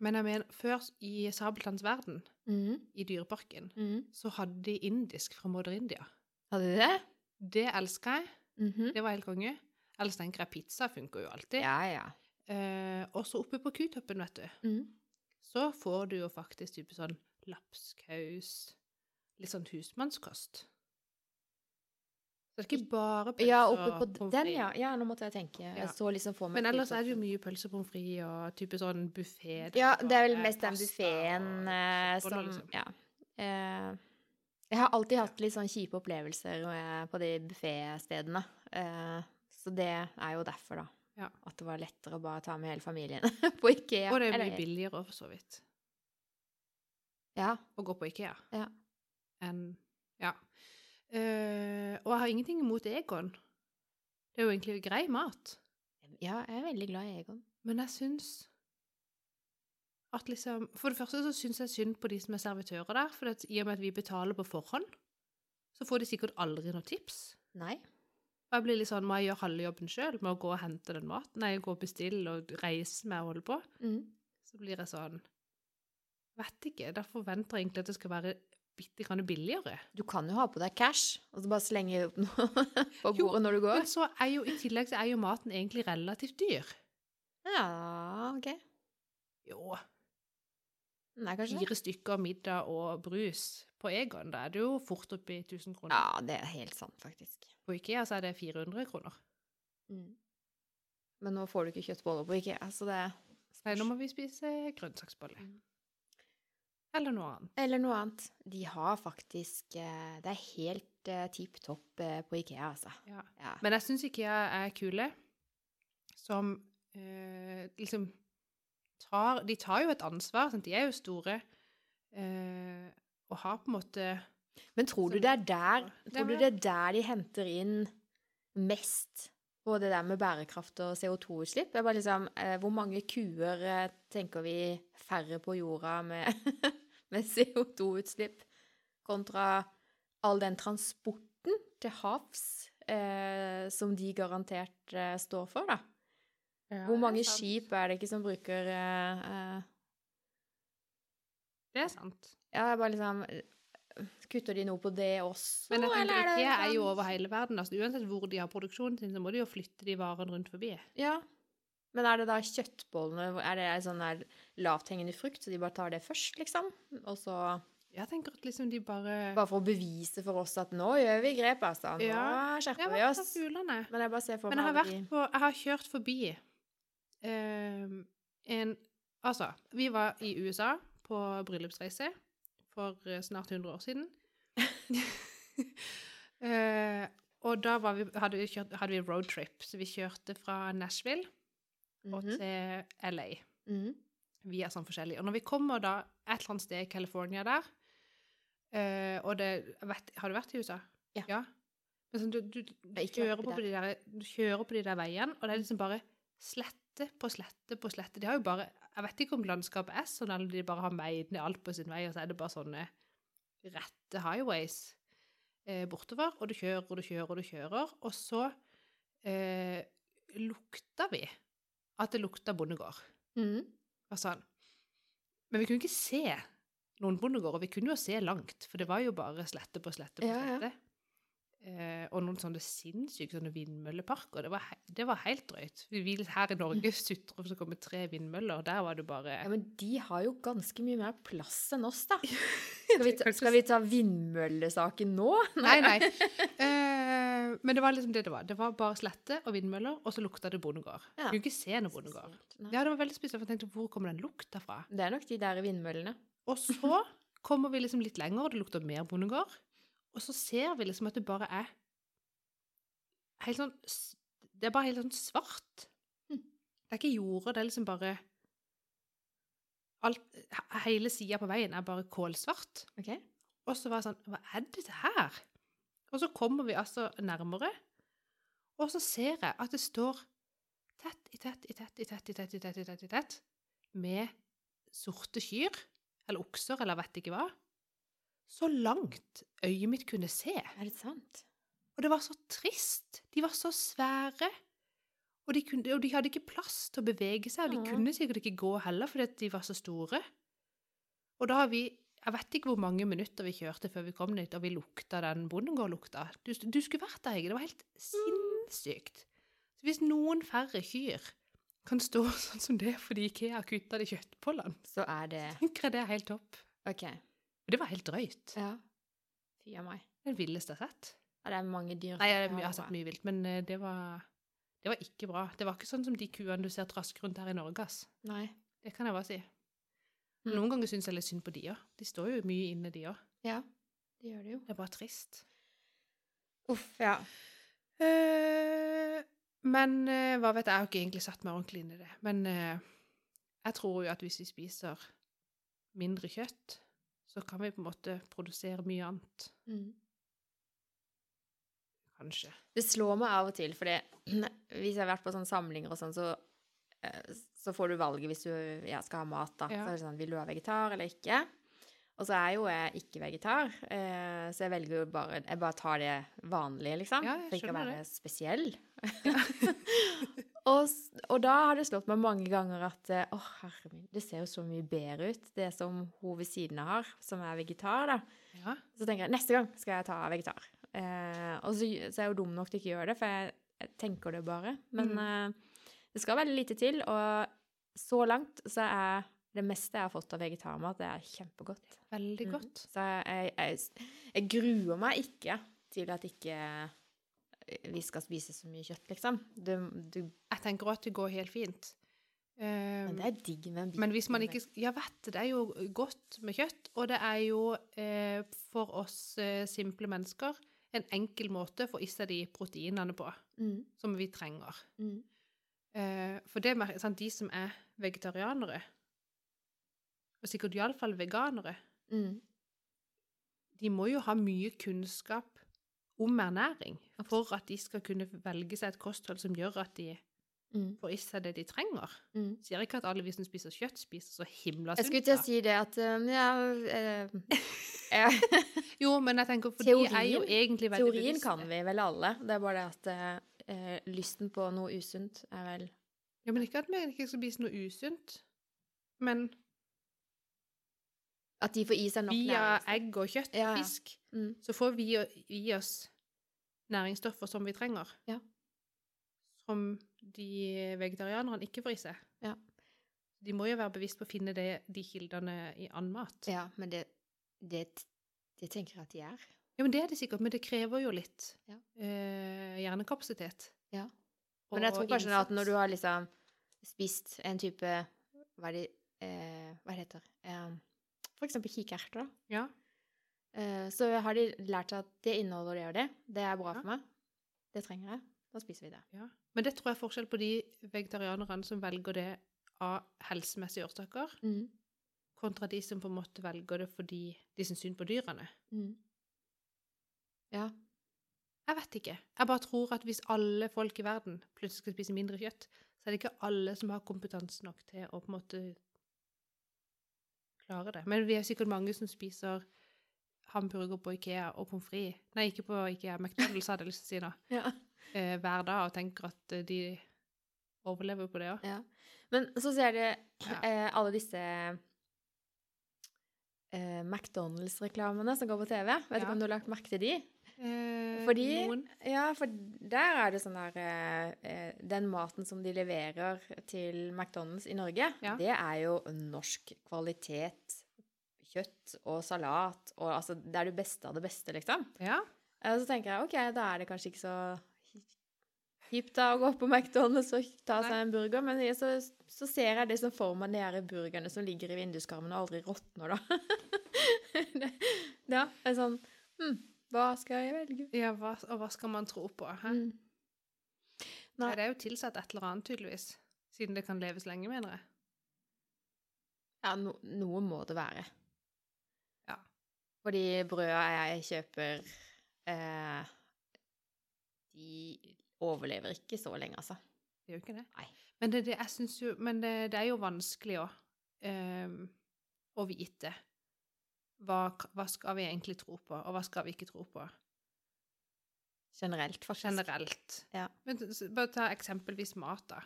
Speaker 1: Men jeg mener, før i Sabeltanns verden,
Speaker 2: Mhm,
Speaker 1: i Dyreparken,
Speaker 2: mhm.
Speaker 1: så hadde de indisk fra Modern India.
Speaker 2: Hadde du det?
Speaker 1: Det elska jeg.
Speaker 2: Mhm.
Speaker 1: Det var helt konge. Ellers tenker jeg pizza funker jo alltid.
Speaker 2: Ja, ja.
Speaker 1: Eh, og så oppe på Kutoppen, vet du,
Speaker 2: Mhm.
Speaker 1: så får du jo faktisk type sånn lapskaus Litt sånn husmannskost. Så det er ikke bare pølser
Speaker 2: Ja, oppe på
Speaker 1: og
Speaker 2: d-
Speaker 1: pommes
Speaker 2: den,
Speaker 1: frites.
Speaker 2: ja. ja. Nå måtte jeg tenke.
Speaker 1: Ja.
Speaker 2: Jeg så liksom for meg
Speaker 1: Men ellers er det jo mye
Speaker 2: pølser.
Speaker 1: pølse og pommes frites og type sånn Eh, buffé.
Speaker 2: Ja, det er vel mest den buffeen eh, som
Speaker 1: liksom.
Speaker 2: Ja. Eh, Jeg har alltid hatt litt sånn kjipe opplevelser med, på de bufféstedene. Eh, så det er jo derfor, da.
Speaker 1: Ja.
Speaker 2: At det var lettere å bare ta med hele familien på Ikea.
Speaker 1: Og det er
Speaker 2: Eller-
Speaker 1: mye billigere, for så vidt,
Speaker 2: Ja.
Speaker 1: å gå på Ikea
Speaker 2: Ja.
Speaker 1: enn Ja. Eh, og jeg har ingenting imot Egon. Det er jo egentlig grei mat.
Speaker 2: ja, jeg er veldig glad i Egon.
Speaker 1: Men jeg syns at liksom For det første så syns jeg synd på de som er servitører der, for at i og med at vi betaler på forhånd, så får de sikkert aldri noe tips.
Speaker 2: Nei.
Speaker 1: Og jeg blir litt sånn, må jeg gjøre halve jobben sjøl med å gå og hente den maten? Nei, gå og bestille og reise med og holde på?
Speaker 2: Mm.
Speaker 1: Så blir jeg sånn Vet ikke. Da forventer jeg egentlig at det skal være bitte grann billigere.
Speaker 2: Du kan jo ha på deg cash, og så bare slenge opp noe på
Speaker 1: Jo,
Speaker 2: bordet når du
Speaker 1: Men
Speaker 2: går.
Speaker 1: så er jo i tillegg så er jo maten egentlig relativt dyr.
Speaker 2: Ja, OK.
Speaker 1: Jo,
Speaker 2: Nei, kanskje det.
Speaker 1: fire stykker middag og brus på Egon, da er det jo fort oppi 1000 kroner.
Speaker 2: Ja, det er helt sant, faktisk.
Speaker 1: På IKEA så er det 400 kroner.
Speaker 2: Mm. Men nå får du ikke kjøttboller på Ikea, så det
Speaker 1: Nei, nå må vi spise grønnsaksbolle.
Speaker 2: Mm.
Speaker 1: Eller noe annet.
Speaker 2: Eller noe annet. De har faktisk eh, Det er helt eh, tipp topp eh, på Ikea, altså.
Speaker 1: Ja.
Speaker 2: Ja.
Speaker 1: Men jeg syns IKEA er kule som eh, liksom tar De tar jo et ansvar, sant? de er jo store, eh, og har på en måte
Speaker 2: Men tror du det er der
Speaker 1: Det
Speaker 2: Tror du
Speaker 1: var-
Speaker 2: det er der de henter inn mest på det der med bærekraft og CO2-utslipp? Det er bare liksom eh, Hvor mange kuer eh, tenker vi færre på jorda med, med CO2-utslipp kontra all den transporten til havs eh, som de garantert eh, står for, da? Hvor mange skip er det ikke som bruker eh, eh,
Speaker 1: Det er sant.
Speaker 2: Ja, det er bare liksom eh, Kutter de noe på det også,
Speaker 1: Men jeg tenker,
Speaker 2: det
Speaker 1: IKEA er
Speaker 2: liksom-
Speaker 1: jo over hele verden. Altså, uansett hvor de har produksjonen sin, så må de jo flytte de varene rundt forbi.
Speaker 2: Ja. Men er det da kjøttbollene hvor- Er det en sånn der lavthengende frukt, så de bare tar det først, liksom? Og så
Speaker 1: Jeg tenker at liksom de bare,
Speaker 2: Bare for å bevise for oss at nå gjør vi grep, altså. Nå
Speaker 1: Ja.
Speaker 2: skjerper
Speaker 1: Ja,
Speaker 2: vi
Speaker 1: hva
Speaker 2: oss.
Speaker 1: sa fuglene?
Speaker 2: Men jeg bare ser for
Speaker 1: Men jeg har,
Speaker 2: meg alle
Speaker 1: vært på, jeg har kjørt forbi ehm, en Altså, vi var i USA på bryllupsreise for eh, snart 100 år siden. Eh, og da var vi, hadde, vi kjørt, hadde vi roadtrip, så vi kjørte fra Nashville
Speaker 2: de
Speaker 1: og
Speaker 2: Mhm,
Speaker 1: til LA.
Speaker 2: mhm.
Speaker 1: Vi er sånn forskjellige. Og når vi kommer da et eller annet sted i California der eh, Og det jeg vet, Har du vært i USA?
Speaker 2: Ja.
Speaker 1: Men sånn, du, du, du,
Speaker 2: Jeg har ikke vært
Speaker 1: kjører på
Speaker 2: der.
Speaker 1: de der, du kjører på de der veiene, og det er liksom bare slette på slette på slette. De har jo bare Jeg vet ikke om landskapet er sånn, eller om de bare har meid ned alt på sin vei, og så er det bare sånne rette highways eh, bortover. Og du kjører og du kjører og du kjører. Og så eh, lukta vi at det lukta bondegård
Speaker 2: Mhm.
Speaker 1: var sånn. Men vi kunne ikke se noen bondegårder. Vi kunne jo se langt, for det var jo bare slette på slette på
Speaker 2: Ja, ja.
Speaker 1: slette. Eh, og noen sånne sinnssyke sånne vindmølleparker. Det var, he- det var helt drøyt. Vi, vi her i Norge sutrer for å komme tre vindmøller, og der var det bare
Speaker 2: Ja, men de har jo ganske mye mer plass enn oss, da. Skal vi ta, skal vi ta vindmøllesaken nå?
Speaker 1: Nei, nei. Eh, men det var liksom det det var. Det var bare slette og vindmøller, og så lukta det bondegård. Vi
Speaker 2: Ja.
Speaker 1: Kunne ikke se noen bondegård.
Speaker 2: Spesielt. Nei.
Speaker 1: Ja, det var veldig spesielt, for jeg tenkte, hvor kommer den lukta fra?
Speaker 2: Det er nok de der vindmøllene.
Speaker 1: Og så kommer vi liksom litt lenger, og det lukter mer bondegård. Og så ser vi liksom at det bare er helt sånn s- Det er bare helt sånn svart.
Speaker 2: Mm.
Speaker 1: Det er ikke jorder, det er liksom bare alt, he- Hele sida på veien er bare kålsvart.
Speaker 2: Ok?
Speaker 1: Og så var jeg sånn Hva er dette her? Og så kommer vi altså nærmere, og så ser jeg at det står tett i tett i tett i tett i tett i tett i tett i tett med sorte kyr, eller okser, eller vet ikke hva. Så langt øyet mitt kunne se.
Speaker 2: Er det sant?
Speaker 1: Og det var så trist. De var så svære. Og de, kunne, og de hadde ikke plass til å bevege seg, og de
Speaker 2: Ja.
Speaker 1: kunne sikkert ikke gå heller fordi at de var så store. Og da har vi Jeg vet ikke hvor mange minutter vi kjørte før vi kom dit, og vi lukta den bondegårdlukta. Du, du skulle vært der, Hege. Det var helt sinnssykt. Så hvis noen færre kyr kan stå sånn som det fordi Ikea kutta de kjøttbollene,
Speaker 2: Så er det
Speaker 1: tenker jeg det er helt topp.
Speaker 2: Ok.
Speaker 1: Og det var helt drøyt.
Speaker 2: Ja. Fy a meg.
Speaker 1: Det villeste jeg har sett.
Speaker 2: Ja, det er altså, mange dyr.
Speaker 1: Nei, jeg,
Speaker 2: Ja,
Speaker 1: jeg har sett mye vilt, men eh, det var, det var ikke bra. Det var ikke sånn som de kuene du ser traske rundt her i Norge, ass.
Speaker 2: Nei.
Speaker 1: Det kan jeg bare si.
Speaker 2: Mm.
Speaker 1: Noen ganger syns jeg litt synd på de òg. De står jo mye inne, de òg.
Speaker 2: Ja. Det gjør det jo.
Speaker 1: Det er bare trist.
Speaker 2: Uff, ja.
Speaker 1: Eh, men eh, hva vet jeg, jeg har ikke egentlig satt meg ordentlig inn i det. Men eh, jeg tror jo at hvis vi spiser mindre kjøtt, så kan vi på en måte produsere mye annet,
Speaker 2: Mm.
Speaker 1: kanskje.
Speaker 2: Det slår meg av og til, fordi hvis jeg har vært på sånne samlinger og sånn, så, eh, så får du valget hvis du ja, skal ha mat, da.
Speaker 1: Ja.
Speaker 2: Så er det sånn, vil du ha vegetar eller ikke? Og så er jo jeg ikke vegetar, eh, så jeg velger jo bare Jeg bare tar det vanlige, liksom.
Speaker 1: Ja, jeg
Speaker 2: for ikke å
Speaker 1: skjønner
Speaker 2: være
Speaker 1: det.
Speaker 2: spesiell. og, s- og da har det slått meg mange ganger at eh, Å, herre min, det ser jo så mye bedre ut, det som hun ved siden av har, som er vegetar, da.
Speaker 1: Ja.
Speaker 2: Så tenker jeg neste gang skal jeg ta vegetar. Eh, og så, så er jeg jo dum nok til ikke å gjøre det, for jeg, jeg tenker det bare. Men
Speaker 1: Mm.
Speaker 2: eh, det skal veldig lite til, og så langt så er det meste jeg har fått av vegetarmat, det er kjempegodt.
Speaker 1: Veldig
Speaker 2: Mhm.
Speaker 1: godt.
Speaker 2: Så jeg, jeg, jeg, jeg gruer meg ikke til at ikke eh, vi skal spise så mye kjøtt, liksom. Du, du,
Speaker 1: Jeg tenker også at det går helt fint. Eh,
Speaker 2: men det er digg med en bit.
Speaker 1: Men hvis man
Speaker 2: med-
Speaker 1: ikke Ja, vet du, det er jo godt med kjøtt, og det er jo eh, for oss eh, simple mennesker en enkel måte å få i seg de proteinene på
Speaker 2: mm,
Speaker 1: som vi trenger.
Speaker 2: mm.
Speaker 1: Eh, for det mer- sant, de som er vegetarianere, og sikkert iallfall veganere,
Speaker 2: Mm.
Speaker 1: de må jo ha mye kunnskap om ernæring for at de skal kunne velge seg et kosthold som gjør at de
Speaker 2: Mm.
Speaker 1: får i seg det de trenger.
Speaker 2: Mm.
Speaker 1: Sier ikke at alle vi som spiser kjøtt, spiser så himla
Speaker 2: Jeg skulle til å
Speaker 1: da.
Speaker 2: si det at um, Ja eh, eh,
Speaker 1: Jo, men jeg tenker, for de er jo
Speaker 2: Teorien-
Speaker 1: egentlig veldig
Speaker 2: Teorien kan vi vel alle. Det er bare det at eh, lysten på noe usunt er vel
Speaker 1: Ja, men ikke at vi ikke skal spise noe usunt. Men
Speaker 2: At de får i seg nok
Speaker 1: via
Speaker 2: næring.
Speaker 1: egg og kjøtt og
Speaker 2: Ja, ja.
Speaker 1: fisk,
Speaker 2: Mm.
Speaker 1: så får vi jo i oss næringsstoffer som vi trenger.
Speaker 2: Ja.
Speaker 1: Som de vegetarianerne ikke får i seg.
Speaker 2: Ja.
Speaker 1: De må jo være bevisst på å finne det, de kildene i annen mat.
Speaker 2: Ja, men det, det, det tenker jeg at de er.
Speaker 1: Ja, men det er det sikkert, men det krever jo litt
Speaker 2: Ja.
Speaker 1: eh, hjernekapasitet.
Speaker 2: Ja. Men jeg
Speaker 1: Og
Speaker 2: tror kanskje
Speaker 1: innsats.
Speaker 2: at når du har liksom spist en type Hva er det, eh, hva det heter eh, For eksempel kikerter, da.
Speaker 1: Ja,
Speaker 2: Eh, så har de lært seg at det inneholder det og det. Det er bra
Speaker 1: Ja.
Speaker 2: for meg. Det trenger jeg. Da spiser vi det.
Speaker 1: Ja. Men det tror jeg er forskjell på de vegetarianerne som velger det av helsemessige årsaker,
Speaker 2: Mm.
Speaker 1: kontra de som på en måte velger det fordi de syns synd på dyrene.
Speaker 2: Mm. Ja.
Speaker 1: Jeg vet ikke. Jeg bare tror at hvis alle folk i verden plutselig skal spise mindre kjøtt, så er det ikke alle som har kompetanse nok til å på en måte klare det. Men vi er sikkert mange som spiser hamburger på Ikea og pommes frites Nei, ikke på Ikea, McDonald's hadde jeg lyst til å si nå.
Speaker 2: ja.
Speaker 1: Eh, hver dag, og tenker at eh, de overlever på det òg.
Speaker 2: Ja. Men så ser du
Speaker 1: Ja.
Speaker 2: eh, alle disse eh, McDonald's-reklamene som går på TV. Vet
Speaker 1: Ja.
Speaker 2: ikke om du har lagt merke til de?
Speaker 1: Eh,
Speaker 2: Fordi-
Speaker 1: noen-
Speaker 2: Ja, for der er det sånn der eh, eh, Den maten som de leverer til McDonald's i Norge,
Speaker 1: Ja.
Speaker 2: det er jo norsk kvalitet. Kjøtt og salat og altså Det er det beste av det beste, liksom.
Speaker 1: Ja.
Speaker 2: Eh, Og så tenker jeg OK, da er det kanskje ikke så kjipt da å gå på McDonald's og ta seg
Speaker 1: Nei.
Speaker 2: en burger, men jeg- så, så ser jeg det som for meg de her burgerne som ligger i vinduskarmen og aldri råtner, da. det, ja, det er sånn hm, Hva skal jeg velge?
Speaker 1: ja hva, og hva skal man tro på? Hæ?
Speaker 2: Mm.
Speaker 1: Nei.
Speaker 2: Nei.
Speaker 1: Det er jo tilsatt et eller annet, tydeligvis. Siden det kan leves lenge, mener jeg.
Speaker 2: Ja, no, noe må det være.
Speaker 1: Ja.
Speaker 2: Fordi brøda jeg kjøper, eh, de overlever ikke så lenge, altså.
Speaker 1: Det gjør jo ikke det.
Speaker 2: Nei.
Speaker 1: Men det, er det, jeg synes jo, men det, det er jo vanskelig å, ehm, å vite hva, k- hva skal vi egentlig tro på, og hva skal vi ikke tro på,
Speaker 2: Generelt, faktisk.
Speaker 1: generelt.
Speaker 2: Ja.
Speaker 1: Men s- bare ta eksempelvis mat, da.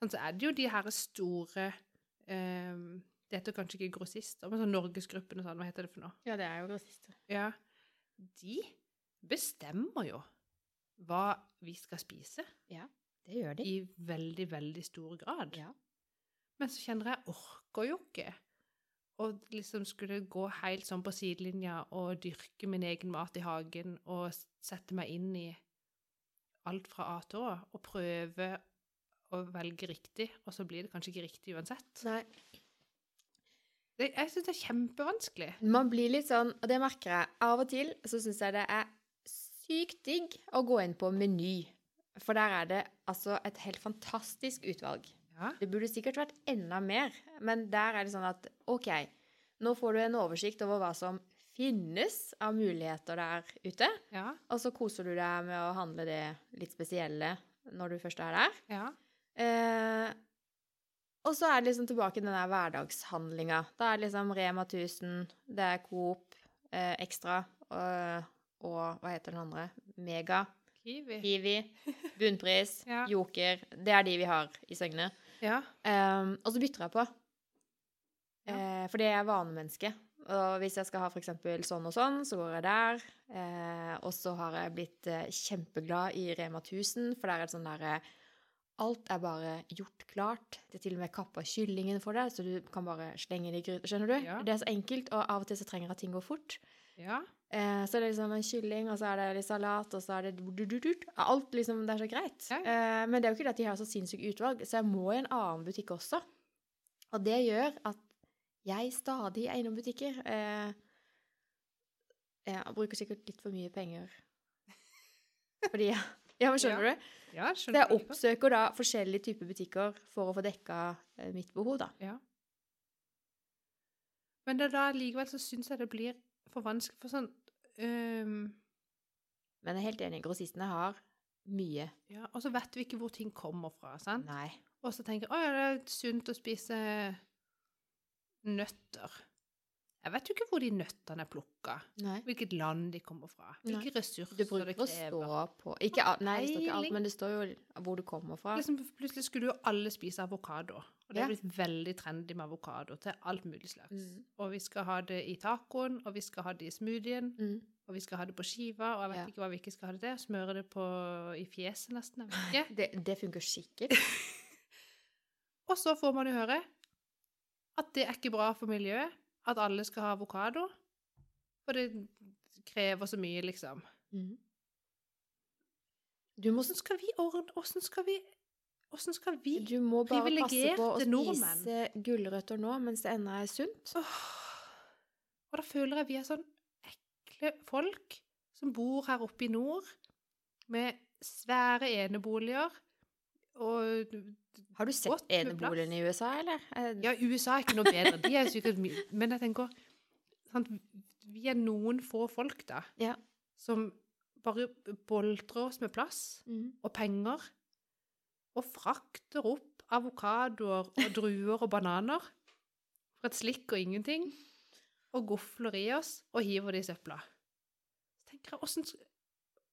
Speaker 1: Sånn, så er det jo de her store ehm, Det heter kanskje ikke grossister, men sånn Norgesgruppen og sånn, hva heter det for noe?
Speaker 2: Ja, det er jo grossister.
Speaker 1: Ja, de bestemmer jo hva vi skal spise,
Speaker 2: Det gjør de.
Speaker 1: i veldig, veldig stor grad.
Speaker 2: Ja.
Speaker 1: Men så kjenner jeg orker jo ikke å liksom skulle gå helt sånn på sidelinja og dyrke min egen mat i hagen og s- sette meg inn i alt fra A til Å og prøve å velge riktig, og så blir det kanskje ikke riktig uansett.
Speaker 2: Nei.
Speaker 1: Det, jeg syns det er kjempevanskelig.
Speaker 2: Man blir litt sånn, og det merker jeg, av og til så syns jeg det er sykt digg å gå inn på Meny. For der er det altså et helt fantastisk utvalg.
Speaker 1: Ja.
Speaker 2: Det burde sikkert vært enda mer, men der er det sånn at OK, nå får du en oversikt over hva som finnes av muligheter der ute,
Speaker 1: Ja.
Speaker 2: og så koser du deg med å handle det litt spesielle når du først er der.
Speaker 1: ja.
Speaker 2: Eh, og så er det liksom tilbake den der hverdagshandlinga. Da er det liksom Rema 1000, det er Coop eh, Extra og, og hva heter den andre? Mega,
Speaker 1: Kiwi.
Speaker 2: Kiwi, Bunnpris,
Speaker 1: Ja.
Speaker 2: Joker. Det er de vi har i Søgne.
Speaker 1: Ja.
Speaker 2: Eh, og så bytter jeg på.
Speaker 1: Ja.
Speaker 2: Eh, fordi jeg er vanemenneske. Og hvis jeg skal ha for eksempel sånn og sånn, så går jeg der. Eh, og så har jeg blitt eh, kjempeglad i Rema 1000, for der er det sånn derre Alt er bare gjort klart. Det er til og med kappa kyllingen for deg, så du kan bare slenge det i gryta. Skjønner du?
Speaker 1: Ja.
Speaker 2: Det er så enkelt, og av og til så trenger jeg at ting går fort.
Speaker 1: ja.
Speaker 2: Eh, så er det liksom en kylling, og så er det litt salat, og så er det du-du-du-du. Alt liksom, det er så greit.
Speaker 1: Ja, ja.
Speaker 2: Eh, men det er jo ikke det at de har så sinnssykt utvalg, så jeg må i en annen butikk også. Og det gjør at jeg stadig er innom butikker. Eh, jeg bruker sikkert litt for mye penger. Fordi, ja, men skjønner du?
Speaker 1: ja
Speaker 2: Så jeg
Speaker 1: veldig godt.
Speaker 2: oppsøker da forskjellige typer butikker for å få dekka eh, mitt behov, da.
Speaker 1: Men det er da likevel så syns jeg det blir for vanskelig for sånn øhm,
Speaker 2: Men jeg er helt enig, grossistene har mye.
Speaker 1: ja, Og så vet vi ikke hvor ting kommer fra. sant?
Speaker 2: Nei.
Speaker 1: Og så tenker jeg å ja, det er sunt å spise nøtter. Jeg vet jo ikke hvor de nøttene er plukka.
Speaker 2: Nei.
Speaker 1: Hvilket land de kommer fra.
Speaker 2: Nei.
Speaker 1: Hvilke ressurser
Speaker 2: Du bruker
Speaker 1: det
Speaker 2: å
Speaker 1: krever.
Speaker 2: stå på ikke, alt- Nei, det står ikke alt,
Speaker 1: Peiling.
Speaker 2: men det står jo hvor du kommer fra.
Speaker 1: Liksom, plutselig skulle jo alle spise avokado. Og det
Speaker 2: Ja.
Speaker 1: har blitt veldig trendy med avokado til alt mulig slags.
Speaker 2: Mm.
Speaker 1: Og vi skal ha det i tacoen, og vi skal ha det i smoothien,
Speaker 2: Mm.
Speaker 1: og vi skal ha det på skiva, og jeg vet
Speaker 2: Ja.
Speaker 1: ikke hva vi ikke skal ha det til. Smøre det på, i fjeset nesten, jeg vet ikke.
Speaker 2: Det, det funker sikkert.
Speaker 1: Og så får man jo høre at det er ikke bra for miljøet at alle skal ha avokado. For det krever så mye, liksom.
Speaker 2: Mm. Du må,
Speaker 1: Åssen skal vi ordne Åssen skal vi Åssen skal vi
Speaker 2: du må bare passe på å
Speaker 1: Privilegerte nordmenn.
Speaker 2: spise gulrøtter nå mens det ennå er sunt.
Speaker 1: Åh. Og da føler jeg vi er sånn ekle folk som bor her oppe i nord, med svære eneboliger. Og
Speaker 2: Har du sett
Speaker 1: Godt med
Speaker 2: eneboligen i USA, eller? Eh,
Speaker 1: ja, USA er ikke noe bedre. De er sikkert mye Men jeg tenker sant, Vi er noen få folk, da,
Speaker 2: Ja.
Speaker 1: som bare boltrer oss med plass
Speaker 2: Mm.
Speaker 1: og penger. Og frakter opp avokadoer og druer og bananer for et slikk og ingenting. Og gofler i oss og hiver det i søpla. Så tenker jeg, hvordan sk-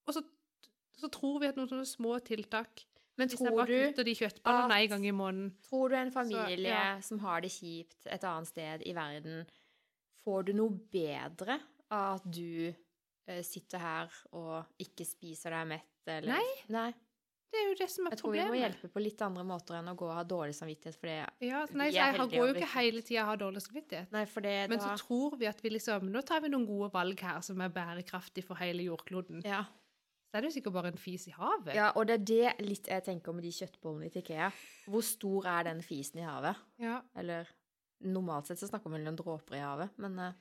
Speaker 1: Og så, så tror vi at noen sånne små tiltak
Speaker 2: Men
Speaker 1: Hvis jeg
Speaker 2: tror
Speaker 1: bare
Speaker 2: du,
Speaker 1: kutter de kjøttballene
Speaker 2: at-
Speaker 1: en gang i måneden
Speaker 2: tror du en familie
Speaker 1: ja.
Speaker 2: som har det kjipt et annet sted i verden, får du noe bedre av at du eh, sitter her og ikke spiser deg mett? Eller?
Speaker 1: Nei.
Speaker 2: Nei.
Speaker 1: Det er jo det som er
Speaker 2: Jeg tror vi må
Speaker 1: problemet.
Speaker 2: hjelpe på litt andre måter enn å gå og ha dårlig samvittighet for det.
Speaker 1: Ja, altså, nei,
Speaker 2: Vi
Speaker 1: så
Speaker 2: er
Speaker 1: jeg har- går
Speaker 2: heldige
Speaker 1: jo
Speaker 2: og
Speaker 1: ikke
Speaker 2: velsignet.
Speaker 1: hele tida og har dårlig samvittighet.
Speaker 2: Nei, for det
Speaker 1: Men
Speaker 2: da
Speaker 1: så tror vi at vi liksom Nå tar vi noen gode valg her som er bærekraftig for hele jordkloden.
Speaker 2: ja.
Speaker 1: Så er det jo sikkert bare en fis i havet.
Speaker 2: ja, og det er det litt jeg tenker om de kjøttbollene til Ikea. Hvor stor er den fisen i havet?
Speaker 1: Ja,
Speaker 2: Eller normalt sett så snakker man vel om dråper i havet, men eh,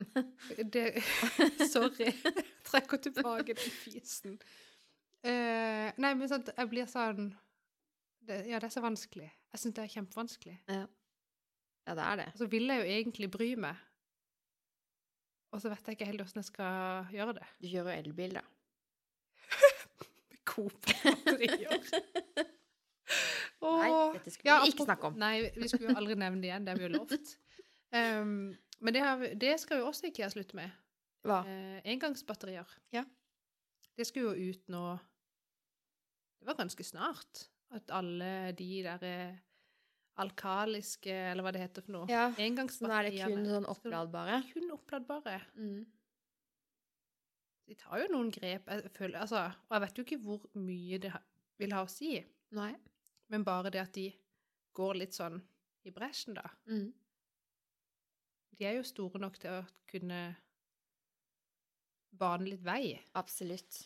Speaker 1: det Sorry. Jeg trekker tilbake den fisen. Eh, nei, men sånn, jeg blir sånn det, Ja, det er så vanskelig. Jeg syns det er kjempevanskelig.
Speaker 2: ja, det er det.
Speaker 1: Og så vil jeg jo egentlig bry meg, og så vet jeg ikke helt åssen jeg skal gjøre det.
Speaker 2: Du kjører jo elbil, da.
Speaker 1: Coop batterier.
Speaker 2: Nei,
Speaker 1: Åh.
Speaker 2: dette skulle vi ikke
Speaker 1: apropos-
Speaker 2: snakke om.
Speaker 1: Nei, vi skulle jo aldri nevne det igjen. Det har vi jo lovt. Um, men det, har, vi- det skal jo også IKEA slutte med.
Speaker 2: Hva?
Speaker 1: Eh, engangsbatterier.
Speaker 2: Ja.
Speaker 1: Det skulle jo ut nå Det var ganske snart at alle de der eh, alkaliske, eller hva det heter for noe
Speaker 2: Ja, så nå er det
Speaker 1: Engangsbatteriene.
Speaker 2: kun sånn
Speaker 1: skal-
Speaker 2: oppladbare.
Speaker 1: Kun oppladbare.
Speaker 2: Mm.
Speaker 1: De tar jo noen grep, jeg føler, altså, og jeg vet jo ikke hvor mye det ha- vil ha å si.
Speaker 2: Nei.
Speaker 1: Men bare det at de går litt sånn i bresjen, da.
Speaker 2: Mm.
Speaker 1: De er jo store nok til å kunne bane litt vei.
Speaker 2: Absolutt.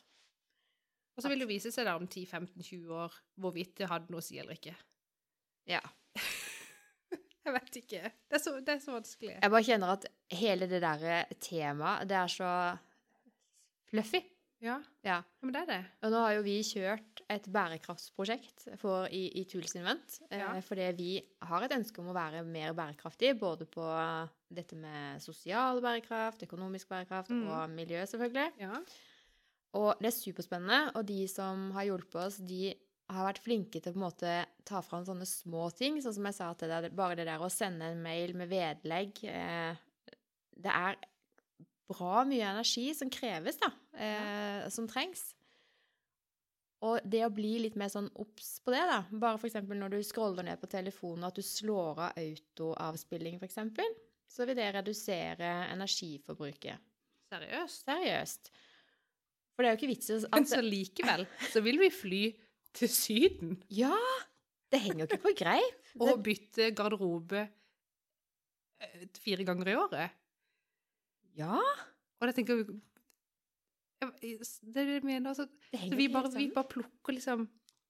Speaker 1: Og så vil det vise seg da om 10-15-20 år hvorvidt det hadde noe å si eller ikke.
Speaker 2: Ja.
Speaker 1: Jeg vet ikke. Det er så, det er så vanskelig.
Speaker 2: Jeg bare kjenner at hele det der temaet, det er så fluffy.
Speaker 1: Ja,
Speaker 2: Ja.
Speaker 1: men det er det.
Speaker 2: Og nå har jo vi kjørt et bærekraftsprosjekt for, i, i Tools Invent,
Speaker 1: Ja.
Speaker 2: eh, fordi vi har et ønske om å være mer bærekraftig, både på dette med sosial bærekraft, økonomisk bærekraft
Speaker 1: Mm.
Speaker 2: og miljø, selvfølgelig.
Speaker 1: Ja.
Speaker 2: Og det er superspennende, og de som har hjulpet oss, de har vært flinke til å på en måte ta fram sånne små ting, sånn som jeg sa til deg, bare det der å sende en mail med vedlegg. eh, Det er bra mye energi som kreves, da, eh, som trengs. Og det å bli litt mer sånn obs på det, da, bare for eksempel når du scroller ned på telefonen, at du slår av autoavspilling, for eksempel, så vil det redusere energiforbruket.
Speaker 1: Seriøst. Altså-
Speaker 2: Seriøst. For det er jo ikke vits i å-
Speaker 1: Men
Speaker 2: at
Speaker 1: så likevel så vil vi fly til Syden
Speaker 2: Ja! Det henger jo ikke på greip.
Speaker 1: og bytte garderobe eh, fire ganger i året.
Speaker 2: Ja,
Speaker 1: Og det tenker vi Jeg- Det er det jeg mener. Altså,
Speaker 2: det henger
Speaker 1: så vi
Speaker 2: ikke
Speaker 1: bare,
Speaker 2: helt
Speaker 1: vi
Speaker 2: sammen.
Speaker 1: bare plukker liksom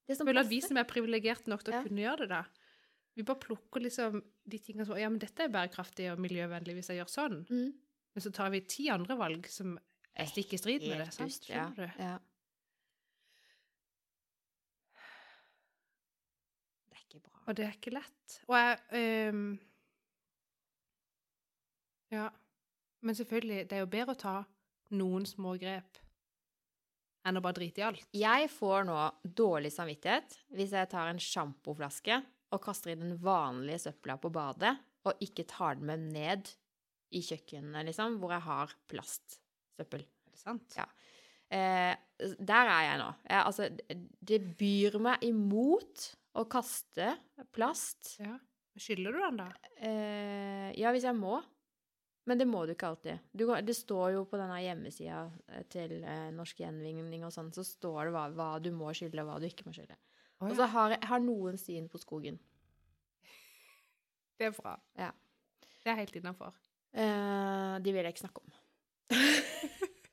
Speaker 2: Det sånn som
Speaker 1: Føler at vi
Speaker 2: passer.
Speaker 1: som er privilegert nok til å
Speaker 2: Ja.
Speaker 1: kunne gjøre det, da Vi bare plukker liksom de tingene som Ja, men dette er bærekraftig og miljøvennlig hvis jeg gjør sånn.
Speaker 2: mm.
Speaker 1: Men så tar vi ti andre valg som er stikk i strid med det.
Speaker 2: Helt
Speaker 1: Sant?
Speaker 2: dust, ja.
Speaker 1: Skjønner du?
Speaker 2: ja. Det er ikke bra.
Speaker 1: Og det er ikke lett. Og jeg ehm, Ja. Men selvfølgelig, det er jo bedre å ta noen små grep enn å bare drite i alt.
Speaker 2: Jeg får nå dårlig samvittighet hvis jeg tar en sjampoflaske og kaster i den vanlige søpla på badet, og ikke tar den med ned i kjøkkenet, liksom, hvor jeg har plastsøppel.
Speaker 1: Er det sant?
Speaker 2: Ja. Eh, der er jeg nå. Jeg, altså, det byr meg imot å kaste plast.
Speaker 1: Ja. Skylder du den, da?
Speaker 2: Eh, ja, hvis jeg må. Men det må du ikke alltid. Du, kan- det står jo på denne hjemmesida eh, til eh, Norsk Gjenvinning og sånn, så står det hva, hva du må skylde, og hva du ikke må skylde.
Speaker 1: Å, ja.
Speaker 2: Og så har, jeg- har noen syn på skogen.
Speaker 1: Det er bra.
Speaker 2: Ja.
Speaker 1: Det er helt innafor.
Speaker 2: Eh, de vil jeg ikke snakke om.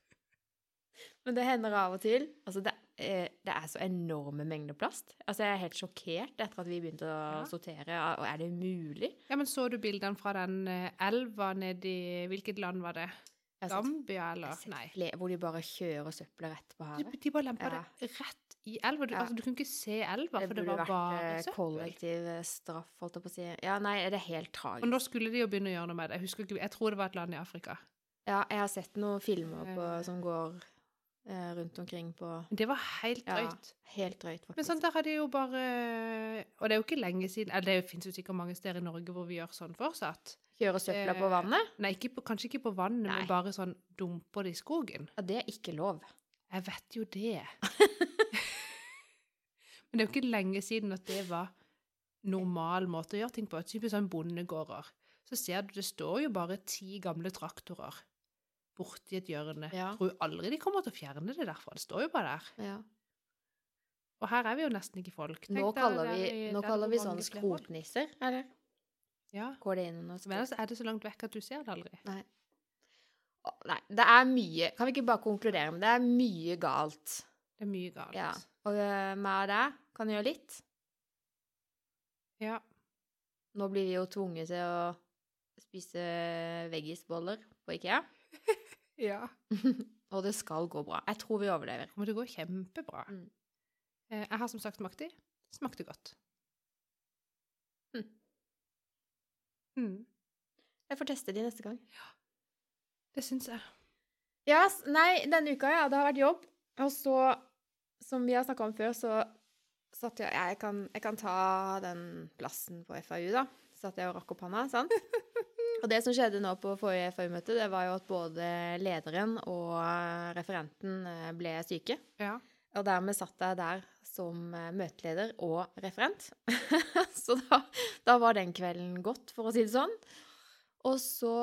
Speaker 2: Men det hender av og til. Altså, det, eh, det er så enorme mengder plast. Altså, jeg er helt sjokkert etter at vi begynte å
Speaker 1: Ja.
Speaker 2: sortere. Og er det mulig?
Speaker 1: Ja, men så du bildene fra den eh, elva nedi Hvilket land var det?
Speaker 2: Jeg har sett,
Speaker 1: Gambia,
Speaker 2: jeg har
Speaker 1: eller?
Speaker 2: sett
Speaker 1: Nei.
Speaker 2: flere hvor de bare kjører søpla rett på
Speaker 1: De,
Speaker 2: havet.
Speaker 1: de bare lempa
Speaker 2: Ja.
Speaker 1: det rett i elva. Du,
Speaker 2: Ja.
Speaker 1: altså, du kunne ikke se elva,
Speaker 2: Det
Speaker 1: for det
Speaker 2: burde
Speaker 1: var bare
Speaker 2: vært eh,
Speaker 1: søppel.
Speaker 2: kollektiv eh, straff, holdt jeg på å si. Ja, nei, det er helt
Speaker 1: Og nå
Speaker 2: tragisk.
Speaker 1: skulle de jo begynne å gjøre noe med det. Jeg, husker ikke, jeg tror det var et land i Afrika.
Speaker 2: Ja, jeg har sett noen filmer på,
Speaker 1: Eh.
Speaker 2: som går eh, rundt omkring på
Speaker 1: Men det var helt
Speaker 2: Ja.
Speaker 1: drøyt.
Speaker 2: Helt drøyt, faktisk.
Speaker 1: Men sånn, der har de jo bare Og det er jo ikke lenge siden Eller det fins jo sikkert mange steder i Norge hvor vi gjør sånn fortsatt.
Speaker 2: Kjører søpla på
Speaker 1: Eh.
Speaker 2: vannet?
Speaker 1: Nei, ikke på, kanskje ikke på vannet,
Speaker 2: Nei.
Speaker 1: men bare sånn dumper det i skogen.
Speaker 2: Ja, det er ikke lov.
Speaker 1: Jeg vet jo det. Men det er jo ikke lenge siden at det var normal måte å gjøre ting på. Typisk sånn bondegårder. Så ser du, det står jo bare ti gamle traktorer borti et hjørne.
Speaker 2: Ja.
Speaker 1: Tror aldri de kommer til å fjerne det derfra. Det står jo bare der.
Speaker 2: Ja.
Speaker 1: Og her er vi jo nesten ikke folk. Tenk
Speaker 2: Nå
Speaker 1: deg
Speaker 2: kaller
Speaker 1: der
Speaker 2: vi,
Speaker 1: i-
Speaker 2: nå
Speaker 1: der
Speaker 2: kaller
Speaker 1: hvor
Speaker 2: vi
Speaker 1: mange
Speaker 2: sånn
Speaker 1: flere folk.
Speaker 2: skrotnisser, eller?
Speaker 1: Ja.
Speaker 2: Går det inn under
Speaker 1: Men
Speaker 2: skrot?
Speaker 1: ellers er det så langt vekk at du ser det aldri.
Speaker 2: Å, Nei, det er mye Kan vi ikke bare konkludere med det er mye galt?
Speaker 1: Det er mye galt.
Speaker 2: Ja. Og eh, meg og deg kan gjøre litt.
Speaker 1: Ja.
Speaker 2: Nå blir vi jo tvunget til å spise veggisboller på IKEA.
Speaker 1: ja.
Speaker 2: Og det skal gå bra. Jeg tror vi overlever.
Speaker 1: kommer til å gå kjempebra.
Speaker 2: Mm.
Speaker 1: Eh, Jeg har som sagt smakt de. Smakte godt. Hm.
Speaker 2: Mm.
Speaker 1: Mm.
Speaker 2: Jeg får teste de neste gang.
Speaker 1: Det syns jeg.
Speaker 2: Ja, s- nei, denne uka, ja, det har vært jobb. Og så, som vi har snakka om før, så satt jeg Jeg kan, jeg kan ta den plassen på FAU, da. Satt jeg og rakk opp handa, sant? Og det som skjedde nå på forrige FAU-møte, det var jo at både lederen og eh, referenten eh, ble syke.
Speaker 1: Ja.
Speaker 2: Og dermed satt jeg der som eh, møteleder og referent. så da, da var den kvelden godt, for å si det sånn. Og så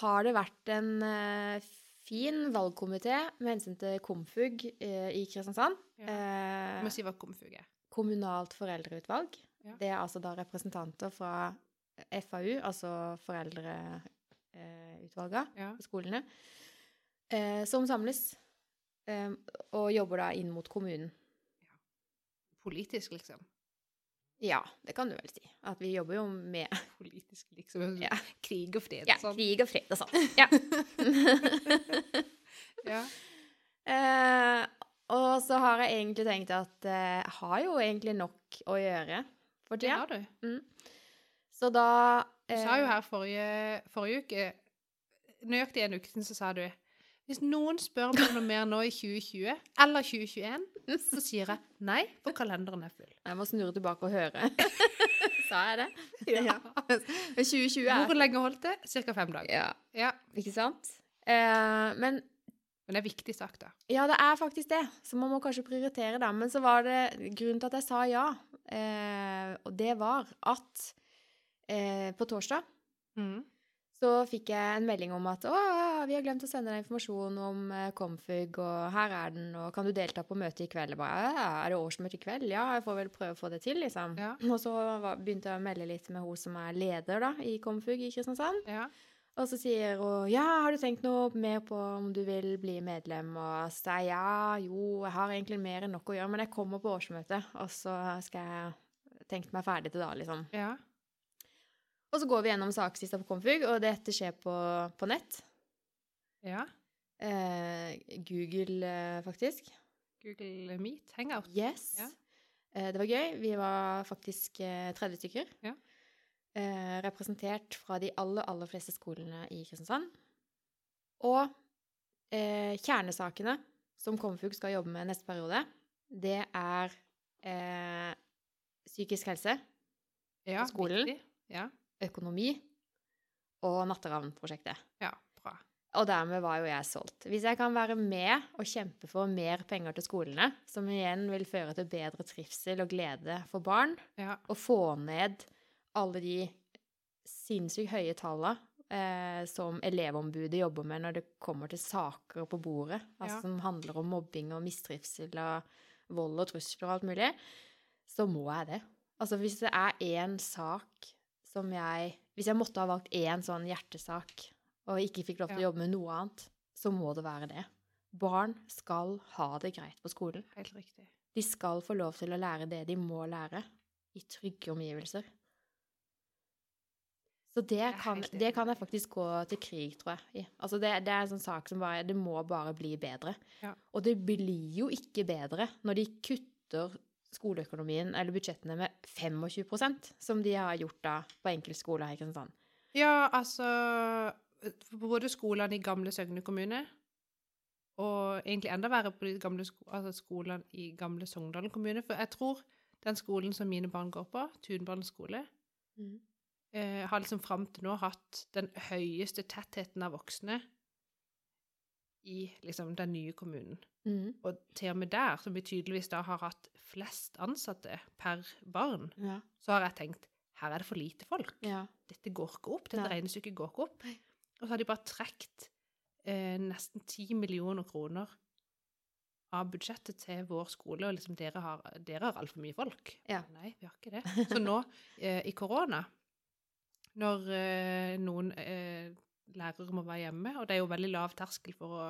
Speaker 2: har det vært en eh, fin valgkomité med hensyn til Komfug eh, i Kristiansand.
Speaker 1: ja.
Speaker 2: Eh,
Speaker 1: Jeg må si hva komfug er.
Speaker 2: kommunalt foreldreutvalg.
Speaker 1: Ja.
Speaker 2: Det er altså da representanter fra FAU, altså foreldreutvalgene
Speaker 1: Ja.
Speaker 2: på skolene, eh, som samles eh, og jobber da inn mot kommunen.
Speaker 1: Politisk, liksom.
Speaker 2: Ja, det kan du vel si. At vi jobber jo med
Speaker 1: Politisk liksom.
Speaker 2: Ja.
Speaker 1: Krig og fred
Speaker 2: ja,
Speaker 1: og sånn.
Speaker 2: krig og fred og sånn. Ja.
Speaker 1: Ja.
Speaker 2: Eh, og så har jeg egentlig tenkt at eh, jeg har jo egentlig nok å gjøre for
Speaker 1: Det
Speaker 2: tida.
Speaker 1: har du.
Speaker 2: Så da
Speaker 1: Du
Speaker 2: eh,
Speaker 1: sa jo her forrige, forrige uke Nøyaktig en uke siden så sa du hvis noen spør meg om noe mer nå i 2020 eller 2021, så sier jeg nei, for kalenderen er full.
Speaker 2: Jeg må snurre tilbake og høre. sa jeg det? Ja. Men 2020 er
Speaker 1: Hvor lenge holdt det? Cirka fem dager.
Speaker 2: Ja,
Speaker 1: Ja.
Speaker 2: ikke sant? Eh, men
Speaker 1: Men det er viktig sak, da.
Speaker 2: Ja, det er faktisk det. Så man må kanskje prioritere det. Men så var det grunnen til at jeg sa ja, eh, og det var at eh, på torsdag
Speaker 1: Mm.
Speaker 2: så fikk jeg en melding om at å, vi har glemt å sende deg informasjon om eh, Komfug, og her er den, og kan du delta på møtet i kveld? Jeg bare, «Æ, er det årsmøte i kveld? Ja, jeg får vel prøve å få det til, liksom.
Speaker 1: Ja.
Speaker 2: Og så var, begynte jeg å melde litt med hun som er leder da, i Komfug i Kristiansand.
Speaker 1: Ja.
Speaker 2: Og så sier hun ja, har du tenkt noe mer på om du vil bli medlem? Og så sier jeg ja, jo, jeg har egentlig mer enn nok å gjøre, men jeg kommer på årsmøtet, og så skal jeg tenke meg ferdig til da, liksom.
Speaker 1: ja.
Speaker 2: Og så går vi gjennom saksista på Komfug, og dette skjer på, på nett.
Speaker 1: ja.
Speaker 2: Eh, Google, eh, faktisk.
Speaker 1: Google Meet, Hangout.
Speaker 2: Yes.
Speaker 1: Ja.
Speaker 2: Eh, det var gøy. Vi var faktisk eh, 30 stykker.
Speaker 1: Ja.
Speaker 2: Eh, representert fra de aller, aller fleste skolene i Kristiansand. Og eh, kjernesakene som Komfug skal jobbe med neste periode, det er eh, psykisk helse,
Speaker 1: Ja,
Speaker 2: på skolen.
Speaker 1: viktig. Ja.
Speaker 2: økonomi og Natteravn-prosjektet.
Speaker 1: ja, bra.
Speaker 2: Og dermed var jo jeg solgt. Hvis jeg kan være med og kjempe for mer penger til skolene, som igjen vil føre til bedre trivsel og glede for barn,
Speaker 1: Ja.
Speaker 2: og få ned alle de sinnssykt høye tallene eh, som elevombudet jobber med når det kommer til saker på bordet, altså
Speaker 1: Ja.
Speaker 2: som handler om mobbing og mistrivsel og vold og trusler og alt mulig, så må jeg det. Altså hvis det er én sak som jeg Hvis jeg måtte ha valgt én sånn hjertesak og ikke fikk lov til å
Speaker 1: Ja.
Speaker 2: jobbe med noe annet, så må det være det. Barn skal ha det greit på skolen.
Speaker 1: Helt riktig.
Speaker 2: De skal få lov til å lære det de må lære, i trygge omgivelser. Så det
Speaker 1: er
Speaker 2: kan,
Speaker 1: helt enig.
Speaker 2: det kan jeg faktisk gå til krig, tror jeg. i. Altså det, det er en sånn sak som bare Det må bare bli bedre.
Speaker 1: Ja.
Speaker 2: Og det blir jo ikke bedre når de kutter skoleøkonomien eller budsjettene med 25 som de har gjort da på enkeltskoler her i Kristiansand.
Speaker 1: Ja, altså for Både skolene i gamle Søgne kommune, og egentlig enda verre på de gamle sko altså skolene i gamle Sogndalen kommune. For jeg tror den skolen som mine barn går på, Tunbanen skole, eh, har liksom fram til nå hatt den høyeste tettheten av voksne i liksom den nye kommunen.
Speaker 2: Mhm.
Speaker 1: Og til og med der, som vi tydeligvis da har hatt flest ansatte per barn,
Speaker 2: Ja.
Speaker 1: så har jeg tenkt her er det for lite folk
Speaker 2: ja.
Speaker 1: dette går ikke opp, dette
Speaker 2: Nei.
Speaker 1: regnestykket går ikke opp.
Speaker 2: Nei.
Speaker 1: Og så har de bare trukket eh, nesten 10 millioner kroner av budsjettet til vår skole, og liksom dere har, dere har altfor mye folk.
Speaker 2: Ja.
Speaker 1: Nei, vi har ikke det. Så nå, eh, i korona, når eh, noen eh, lærere må være hjemme, og det er jo veldig lav terskel for å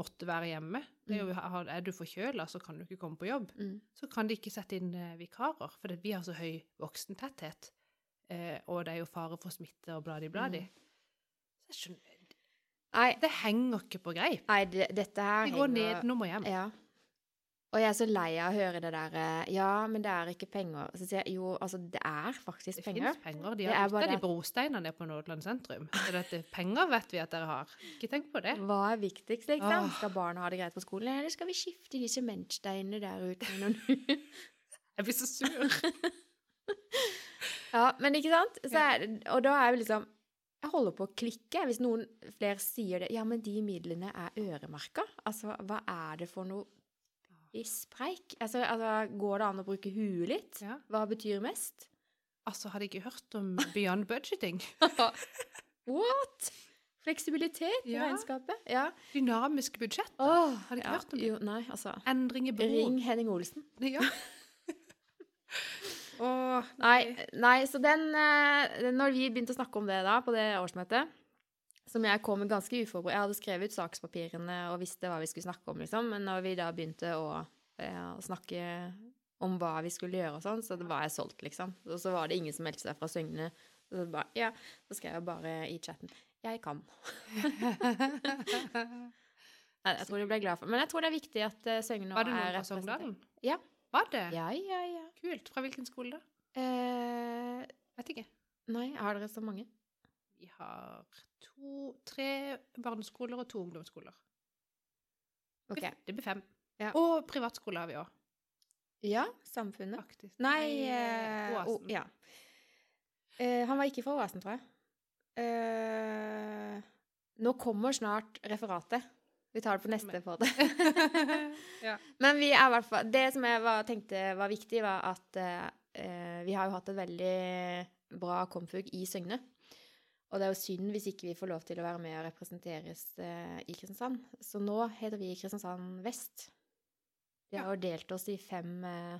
Speaker 1: måtte være hjemme, det
Speaker 2: Mm.
Speaker 1: er, jo, har- er du forkjøla, så kan du ikke komme på jobb
Speaker 2: Mhm.
Speaker 1: så kan de ikke sette inn eh, vikarer, for vi har så høy voksentetthet. Eh, og det er jo fare for smitte og bladi, bladi.
Speaker 2: Mm.
Speaker 1: Så jeg skjønner,
Speaker 2: Nei,
Speaker 1: det henger ikke på greip.
Speaker 2: nei, det, dette her
Speaker 1: Vi går
Speaker 2: henger- eh,
Speaker 1: nedenom og hjem.
Speaker 2: Ja. Og jeg er så lei av å høre det der eh, Ja, men det er ikke penger. Så sier jeg jo, altså, det er faktisk
Speaker 1: Det
Speaker 2: penger.
Speaker 1: finnes penger. De
Speaker 2: Det er
Speaker 1: har
Speaker 2: bare
Speaker 1: bytta de
Speaker 2: at-
Speaker 1: brosteinene ned på Nådeland sentrum. Så dette, eh, penger vet vi at dere har. Ikke tenk på det.
Speaker 2: Hva er viktigst, liksom?
Speaker 1: Åh.
Speaker 2: Skal barna ha det greit på skolen, eller skal vi skifte de sementsteinene der ute med noen
Speaker 1: Jeg blir så sur.
Speaker 2: Ja, men ikke sant? Så
Speaker 1: Ja.
Speaker 2: er, det- og da er vi liksom Jeg holder på å klikke jeg, hvis noen flere sier det. Ja, men de midlene er øremerka. Altså, hva er det for noe i spreik? Altså, altså, går det an å bruke huet litt?
Speaker 1: Ja.
Speaker 2: Hva betyr mest?
Speaker 1: Altså, har de ikke hørt om beyond budgeting?
Speaker 2: What? Fleksibilitet i
Speaker 1: Ja.
Speaker 2: regnskapet? Ja.
Speaker 1: Dynamisk budsjett?
Speaker 2: Åh,
Speaker 1: har du ikke
Speaker 2: ja.
Speaker 1: hørt om det?
Speaker 2: Jo, nei, altså.
Speaker 1: Endring i behov?
Speaker 2: Ring Henning Olsen.
Speaker 1: Ja. og
Speaker 2: Nei, nei så den eh, Når vi begynte å snakke om det da, på det årsmøtet som jeg kom med ganske uforberedt Jeg hadde skrevet ut sakspapirene og visste hva vi skulle snakke om, liksom. Men når vi da begynte å, eh, å snakke om hva vi skulle gjøre og sånn, så det var jeg solgt, liksom. Og så var det ingen som meldte seg fra Søgne. Og så bare, ja, så skrev jeg bare i chatten 'Jeg kan'. Nei, jeg tror de ble glad for Men jeg tror det er viktig at eh, Søgne
Speaker 1: Var det
Speaker 2: er
Speaker 1: noen fra
Speaker 2: representert.
Speaker 1: Sogndalen?
Speaker 2: Ja.
Speaker 1: Var det?
Speaker 2: Ja, ja, ja.
Speaker 1: Kult. Fra hvilken skole da?
Speaker 2: Eh,
Speaker 1: Vet ikke.
Speaker 2: nei, har dere så mange?
Speaker 1: Vi har to, tre barneskoler og to ungdomsskoler.
Speaker 2: Ok.
Speaker 1: Det blir fem.
Speaker 2: Ja.
Speaker 1: Og privatskoler har vi òg,
Speaker 2: Ja, Samfunnet.
Speaker 1: faktisk.
Speaker 2: Nei eh,
Speaker 1: eh, Oasen.
Speaker 2: O- ja. Eh, han var ikke fra Oasen, tror jeg. Eh, nå kommer snart referatet. Vi tar det på neste
Speaker 1: Men-
Speaker 2: på det.
Speaker 1: ja.
Speaker 2: Men vi er i hvert fall Det som jeg var, tenkte var viktig, var at eh, vi har jo hatt et veldig bra komfug i Søgne. Og det er jo synd hvis ikke vi får lov til å være med og representeres eh, i Kristiansand. Så nå heter vi Kristiansand Vest. Vi har
Speaker 1: Ja.
Speaker 2: jo delt oss i fem eh,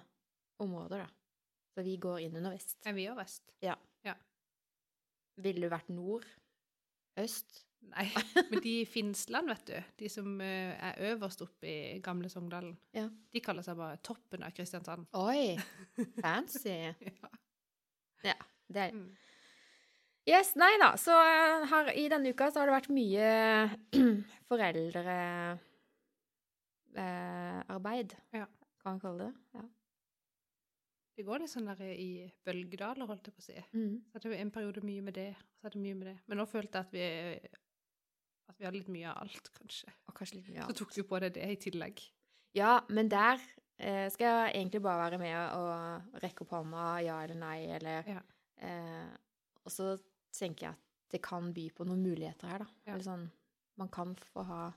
Speaker 2: områder, da. Så vi går inn under vest.
Speaker 1: Er vi òg vest?
Speaker 2: Ville du vært nord? Øst?
Speaker 1: Nei. Men de i Finnsland, vet du, de som eh, er øverst oppe i gamle Sogndalen,
Speaker 2: Ja.
Speaker 1: de kaller seg bare Toppen av Kristiansand.
Speaker 2: Oi! Fancy.
Speaker 1: Ja.
Speaker 2: Det er
Speaker 1: Mm.
Speaker 2: Yes, nei da. Så eh, her, i denne uka så har det vært mye foreldrearbeid. Eh, arbeid,
Speaker 1: Ja.
Speaker 2: Kan man kalle det det? Ja.
Speaker 1: Det går litt sånn der i bølgedaler, holdt jeg på å si.
Speaker 2: Mm.
Speaker 1: Så hadde vi en periode mye med det, og så hadde vi mye med det. Men nå følte jeg at vi, at vi hadde litt mye av alt, kanskje.
Speaker 2: Og kanskje litt mye
Speaker 1: Så
Speaker 2: annet.
Speaker 1: tok du på deg det i tillegg.
Speaker 2: Ja, men der eh, skal jeg egentlig bare være med og rekke opp hånda, ja eller nei, eller
Speaker 1: Ja.
Speaker 2: eh, Og så tenker jeg at det kan by på noen muligheter her, da.
Speaker 1: Ja.
Speaker 2: Eller sånn Man kan få ha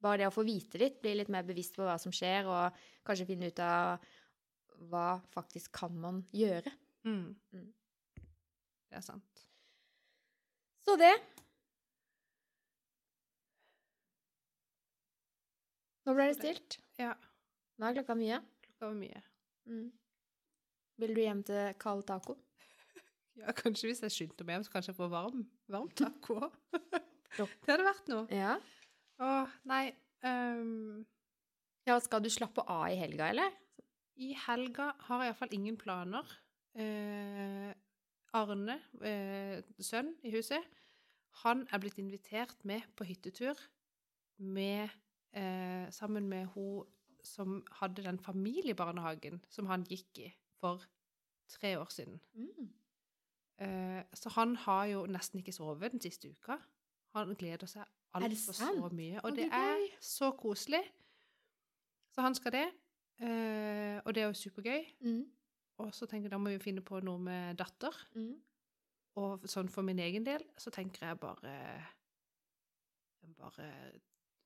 Speaker 2: Bare det å få vite litt, bli litt mer bevisst på hva som skjer, og kanskje finne ut av hva faktisk kan man gjøre. Mm.
Speaker 1: Det er sant.
Speaker 2: Så det. Nå ble det
Speaker 1: Så det.
Speaker 2: stilt.
Speaker 1: Ja.
Speaker 2: Nå er klokka mye.
Speaker 1: Klokka var mye.
Speaker 2: Mm. Vil du hjem til kald taco?
Speaker 1: Ja, kanskje hvis jeg skyndte meg hjem, så kanskje jeg får varm, varm taco òg.
Speaker 2: Ja.
Speaker 1: det hadde vært noe.
Speaker 2: Ja.
Speaker 1: Å, nei. ehm,
Speaker 2: ja. Skal du slappe av i helga, eller?
Speaker 1: I helga har jeg iallfall ingen planer. Eh, Arne, eh, sønn i huset, han er blitt invitert med på hyttetur med, eh, sammen med hun som hadde den familiebarnehagen som han gikk i for tre år siden.
Speaker 2: Mm.
Speaker 1: Eh, så han har jo nesten ikke sovet den siste uka. Han gleder seg
Speaker 2: det
Speaker 1: altfor så
Speaker 2: sant?
Speaker 1: mye.
Speaker 2: Å,
Speaker 1: Og det
Speaker 2: så
Speaker 1: er
Speaker 2: gøy.
Speaker 1: så koselig. Så han skal det. Eh, og det er jo supergøy.
Speaker 2: Mm.
Speaker 1: Og så tenker jeg da må vi finne på noe med datter.
Speaker 2: Mm.
Speaker 1: Og sånn for min egen del så tenker jeg bare Jeg bare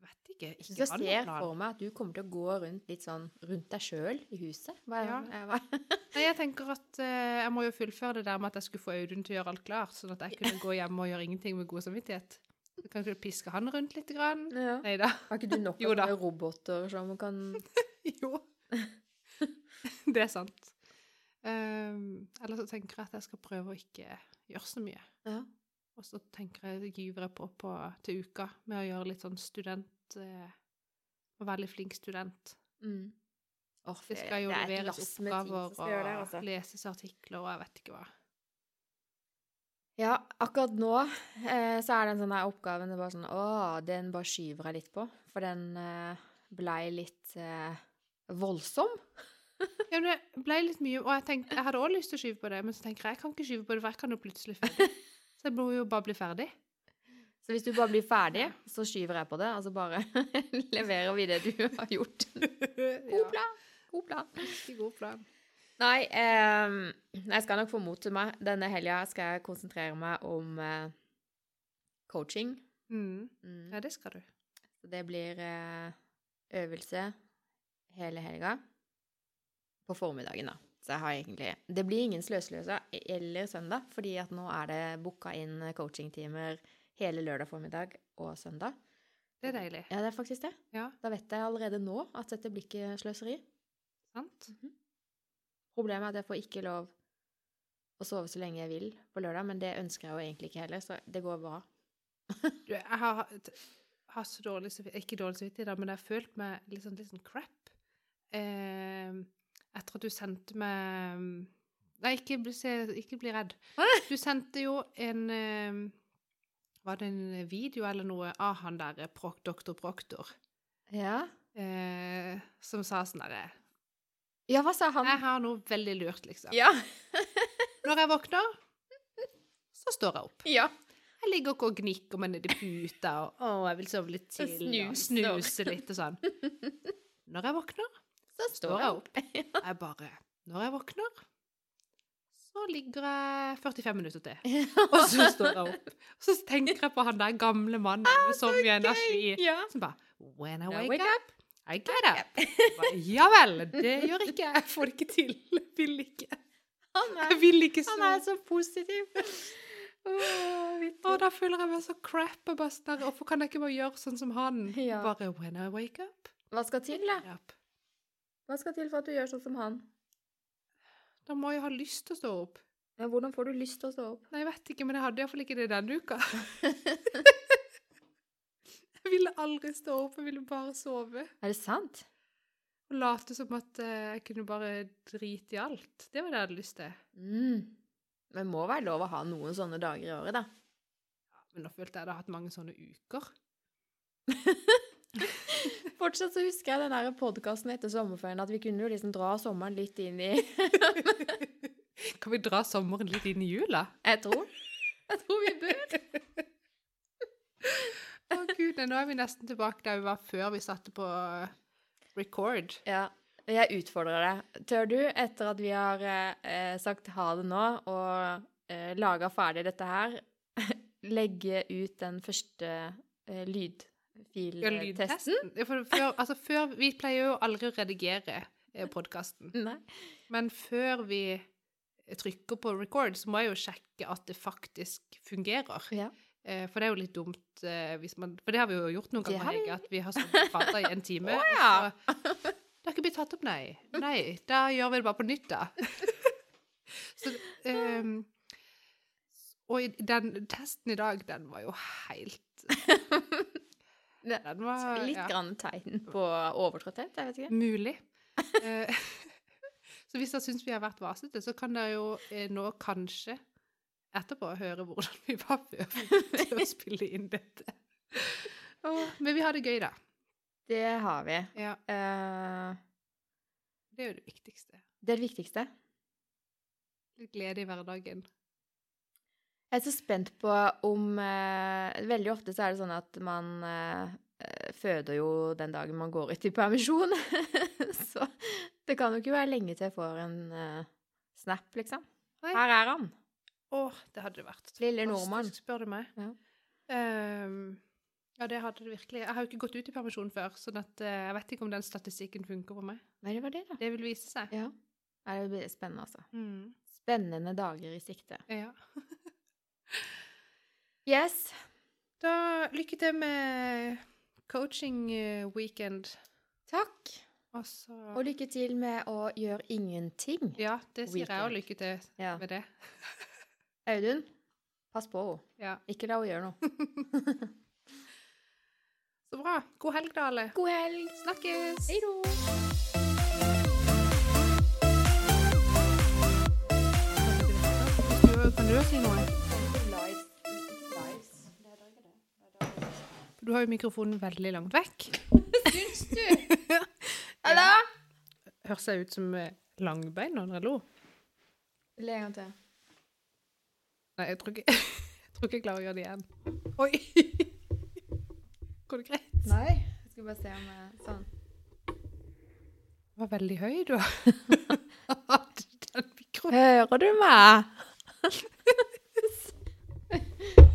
Speaker 1: vet ikke.
Speaker 2: Så jeg
Speaker 1: ha
Speaker 2: ser
Speaker 1: noen
Speaker 2: jeg
Speaker 1: plan.
Speaker 2: for meg at du kommer til å gå rundt litt sånn rundt deg sjøl i huset. Hva er
Speaker 1: Ja.
Speaker 2: eh, hva-
Speaker 1: Nei, jeg tenker at eh, jeg må jo fullføre det der med at jeg skulle få Audun til å gjøre alt klart, sånn at jeg kunne gå hjemme og gjøre ingenting med god samvittighet. Så kan ikke du piske han rundt litt? Grann.
Speaker 2: ja.
Speaker 1: Nei da.
Speaker 2: Har ikke du nok
Speaker 1: Jo
Speaker 2: av
Speaker 1: da.
Speaker 2: sånne roboter som kan
Speaker 1: Jo. Det er sant. Um, eller så tenker jeg at jeg skal prøve å ikke gjøre så mye.
Speaker 2: Ja.
Speaker 1: Og så tenker jeg gyver jeg på, på til uka med å gjøre litt sånn student eh, Å være litt flink student.
Speaker 2: Mm. Åh,
Speaker 1: Det
Speaker 2: fy,
Speaker 1: skal jo
Speaker 2: det er et
Speaker 1: leveres
Speaker 2: lass med ting som
Speaker 1: oppgaver
Speaker 2: skal gjøre der,
Speaker 1: og
Speaker 2: altså.
Speaker 1: leses artikler og jeg vet ikke hva.
Speaker 2: Ja, akkurat nå eh, så er det en sånn her oppgave det er bare sånn, Å, den bare skyver jeg litt på. For den eh, blei litt eh, voldsom.
Speaker 1: Ja, men det ble litt mye, og jeg tenkte, jeg hadde også lyst til å skyve på det, men så tenker jeg jeg kan ikke skyve på det, for jeg kan jo plutselig føde. Så jeg må jo bare bli ferdig.
Speaker 2: Så hvis du bare blir ferdig,
Speaker 1: Ja.
Speaker 2: så skyver jeg på det, og så bare leverer vi det du har gjort. God
Speaker 1: God
Speaker 2: plan! God plan.
Speaker 1: Ikke god plan.
Speaker 2: Nei, ehm, jeg skal nok få mot til meg. Denne helga skal jeg konsentrere meg om eh, coaching.
Speaker 1: Mm.
Speaker 2: Mm.
Speaker 1: Ja, det skal du.
Speaker 2: Så det blir eh, øvelse hele helga. På formiddagen, da. Så jeg har egentlig Det blir ingen sløsløsa eller søndag, fordi at nå er det booka inn coachingtimer hele lørdag formiddag og søndag.
Speaker 1: Det er deilig.
Speaker 2: Ja, det er faktisk det.
Speaker 1: Ja.
Speaker 2: Da vet jeg allerede nå at dette blir ikke sløseri.
Speaker 1: Sant?
Speaker 2: Problemet er at jeg får ikke lov å sove så lenge jeg vil på lørdag, men det ønsker jeg jo egentlig ikke heller, så det går bra.
Speaker 1: Du, jeg har, hatt- har så dårlig samvittighet Ikke dårlig samvittighet, da, men jeg har følt meg litt sånn, litt sånn crap. Eh, etter at du sendte meg mm, Nei, ikke, bli- se, ikke bli redd. Du sendte jo en eh, Var det en video eller noe av han derre Proc- Dr. Proktor
Speaker 2: Ja.
Speaker 1: eh, som sa sånn derre
Speaker 2: ja, hva sa han?
Speaker 1: Jeg har noe veldig lurt, liksom.
Speaker 2: Ja.
Speaker 1: Når jeg våkner, så står jeg opp.
Speaker 2: ja.
Speaker 1: Jeg ligger ikke og gnikker meg nedi puta og å, jeg vil sove litt til og
Speaker 2: Snuser.
Speaker 1: snuse litt og sånn. Når jeg våkner,
Speaker 2: Så
Speaker 1: står jeg opp. Jeg bare Når jeg våkner, så ligger jeg 45 minutter til. Og så står jeg opp. Og så tenker jeg på han der gamle mannen med Ah, så mye energi
Speaker 2: Ja.
Speaker 1: som bare When I
Speaker 2: Now
Speaker 1: wake
Speaker 2: wake
Speaker 1: up, I get up. Jeg bare, Ja vel. Det gjør ikke jeg. Jeg får det ikke til. Jeg vil ikke.
Speaker 2: Han er,
Speaker 1: Jeg vil ikke
Speaker 2: han er
Speaker 1: sove.
Speaker 2: så positiv. Åh,
Speaker 1: Å,
Speaker 2: vittig.
Speaker 1: da føler jeg meg så crap. Jeg bare sånn der, Hvorfor kan jeg ikke bare gjøre sånn som han?
Speaker 2: Ja.
Speaker 1: Bare when I wake up.
Speaker 2: Hva skal til, da?
Speaker 1: get up.
Speaker 2: Hva skal til for at du gjør sånn som han?
Speaker 1: Da må jeg ha lyst til å stå opp.
Speaker 2: Ja, hvordan får du lyst til å stå opp?
Speaker 1: Nei, jeg vet ikke, men jeg hadde iallfall ikke det denne uka. jeg ville aldri stå opp, jeg ville bare sove.
Speaker 2: Er det sant?
Speaker 1: Og late som at eh, jeg kunne bare drite i alt. Det var det jeg hadde lyst til.
Speaker 2: Mm. Men må være lov å ha noen sånne dager i året, da.
Speaker 1: Men nå følte jeg jeg hadde hatt mange sånne uker.
Speaker 2: Fortsatt så husker jeg den der podkasten etter sommerferien, at vi kunne jo liksom dra sommeren litt inn i
Speaker 1: Kan vi dra sommeren litt inn i jula?
Speaker 2: Jeg tror. Jeg tror vi bør.
Speaker 1: Å gud, nei, nå er vi nesten tilbake der vi var før vi satte på eh, record.
Speaker 2: Ja. Jeg utfordrer deg. Tør du, etter at vi har eh, eh, sagt ha det nå og eh, laga ferdig dette her, legge ut den første eh,
Speaker 1: Ja,
Speaker 2: lydfiltesten?
Speaker 1: lydtesten. Ja, for før, altså før, vi pleier jo aldri å redigere eh, podkasten.
Speaker 2: Nei.
Speaker 1: Men før vi trykker på record, så må jeg jo sjekke at det faktisk fungerer.
Speaker 2: Ja.
Speaker 1: Eh, For det er jo litt dumt eh, hvis man For det har vi jo gjort noen
Speaker 2: Det
Speaker 1: ganger,
Speaker 2: har vi.
Speaker 1: Hege, at vi har stått og prata i en time.
Speaker 2: Å, ja.
Speaker 1: og så, det har ikke blitt tatt opp, nei. Nei, da gjør vi det bare på nytt, da. Så, ehm, og i- den testen i dag, den var jo helt
Speaker 2: Det-
Speaker 1: Den var
Speaker 2: Litt
Speaker 1: ja,
Speaker 2: grann tegn på overtrøtthet, jeg vet ikke.
Speaker 1: mulig. Eh, Så hvis dere syns vi har vært vasete, så kan dere jo eh, nå kanskje etterpå høre hvordan vi var før vi begynte å spille inn dette. Å, Men vi har det gøy, da.
Speaker 2: Det har vi.
Speaker 1: Ja,
Speaker 2: Eh,
Speaker 1: det er jo det viktigste.
Speaker 2: det er det viktigste.
Speaker 1: Litt glede i hverdagen.
Speaker 2: Jeg er så spent på om eh, Veldig ofte så er det sånn at man eh, eh, føder jo den dagen man går ut i permisjon. så det kan jo ikke være lenge til jeg får en eh, snap, liksom.
Speaker 1: Nei.
Speaker 2: Her er han.
Speaker 1: Å, det hadde det vært.
Speaker 2: Lille nordmann.
Speaker 1: Fantastisk, Spør du meg.
Speaker 2: Ja.
Speaker 1: Ehm, ja, det hadde det virkelig. Jeg har jo ikke gått ut i permisjon før, så jeg vet ikke om den statistikken funker på meg.
Speaker 2: Nei, det var det, da.
Speaker 1: Det vil vise seg.
Speaker 2: Ja. Nei, Det blir spennende, altså.
Speaker 1: Mm.
Speaker 2: Spennende dager i sikte.
Speaker 1: ja.
Speaker 2: Yes.
Speaker 1: Da lykke til med coaching eh, weekend.
Speaker 2: Takk.
Speaker 1: Og så
Speaker 2: Og lykke til med å gjøre ingenting.
Speaker 1: Ja, det sier jeg òg
Speaker 2: Weekend.
Speaker 1: lykke til
Speaker 2: Ja.
Speaker 1: med det.
Speaker 2: Audun, pass på henne.
Speaker 1: Ja.
Speaker 2: Ikke la henne gjøre noe.
Speaker 1: Så bra. God helg, da, alle.
Speaker 2: God helg.
Speaker 1: Snakkes!
Speaker 2: Hei då.
Speaker 1: Hvis du- Kan du også si noe?
Speaker 2: Lives. Lives. Det er ikke det.
Speaker 1: Du har jo mikrofonen veldig langt vekk.
Speaker 2: Syns du? Hallo?
Speaker 1: Høres jeg ut som eh, langbein når jeg lo?
Speaker 2: Le en gang til.
Speaker 1: Nei, jeg tror ikke jeg, tror ikke jeg klarer å gjøre det igjen. Oi! Går det greit?
Speaker 2: Nei. Jeg skal bare se om jeg Sånn.
Speaker 1: Du var veldig høy, du. Hadde den mikrofonen
Speaker 2: Hører du meg?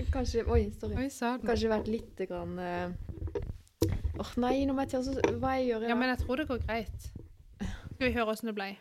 Speaker 2: Kanskje Oi, sorry.
Speaker 1: Oi sann.
Speaker 2: Kanskje vært lite grann eh, Åh, nei, nå må jeg til å Hva jeg gjør i
Speaker 1: Ja,
Speaker 2: dag?
Speaker 1: men jeg tror det går greit. Skal vi høre åssen det ble?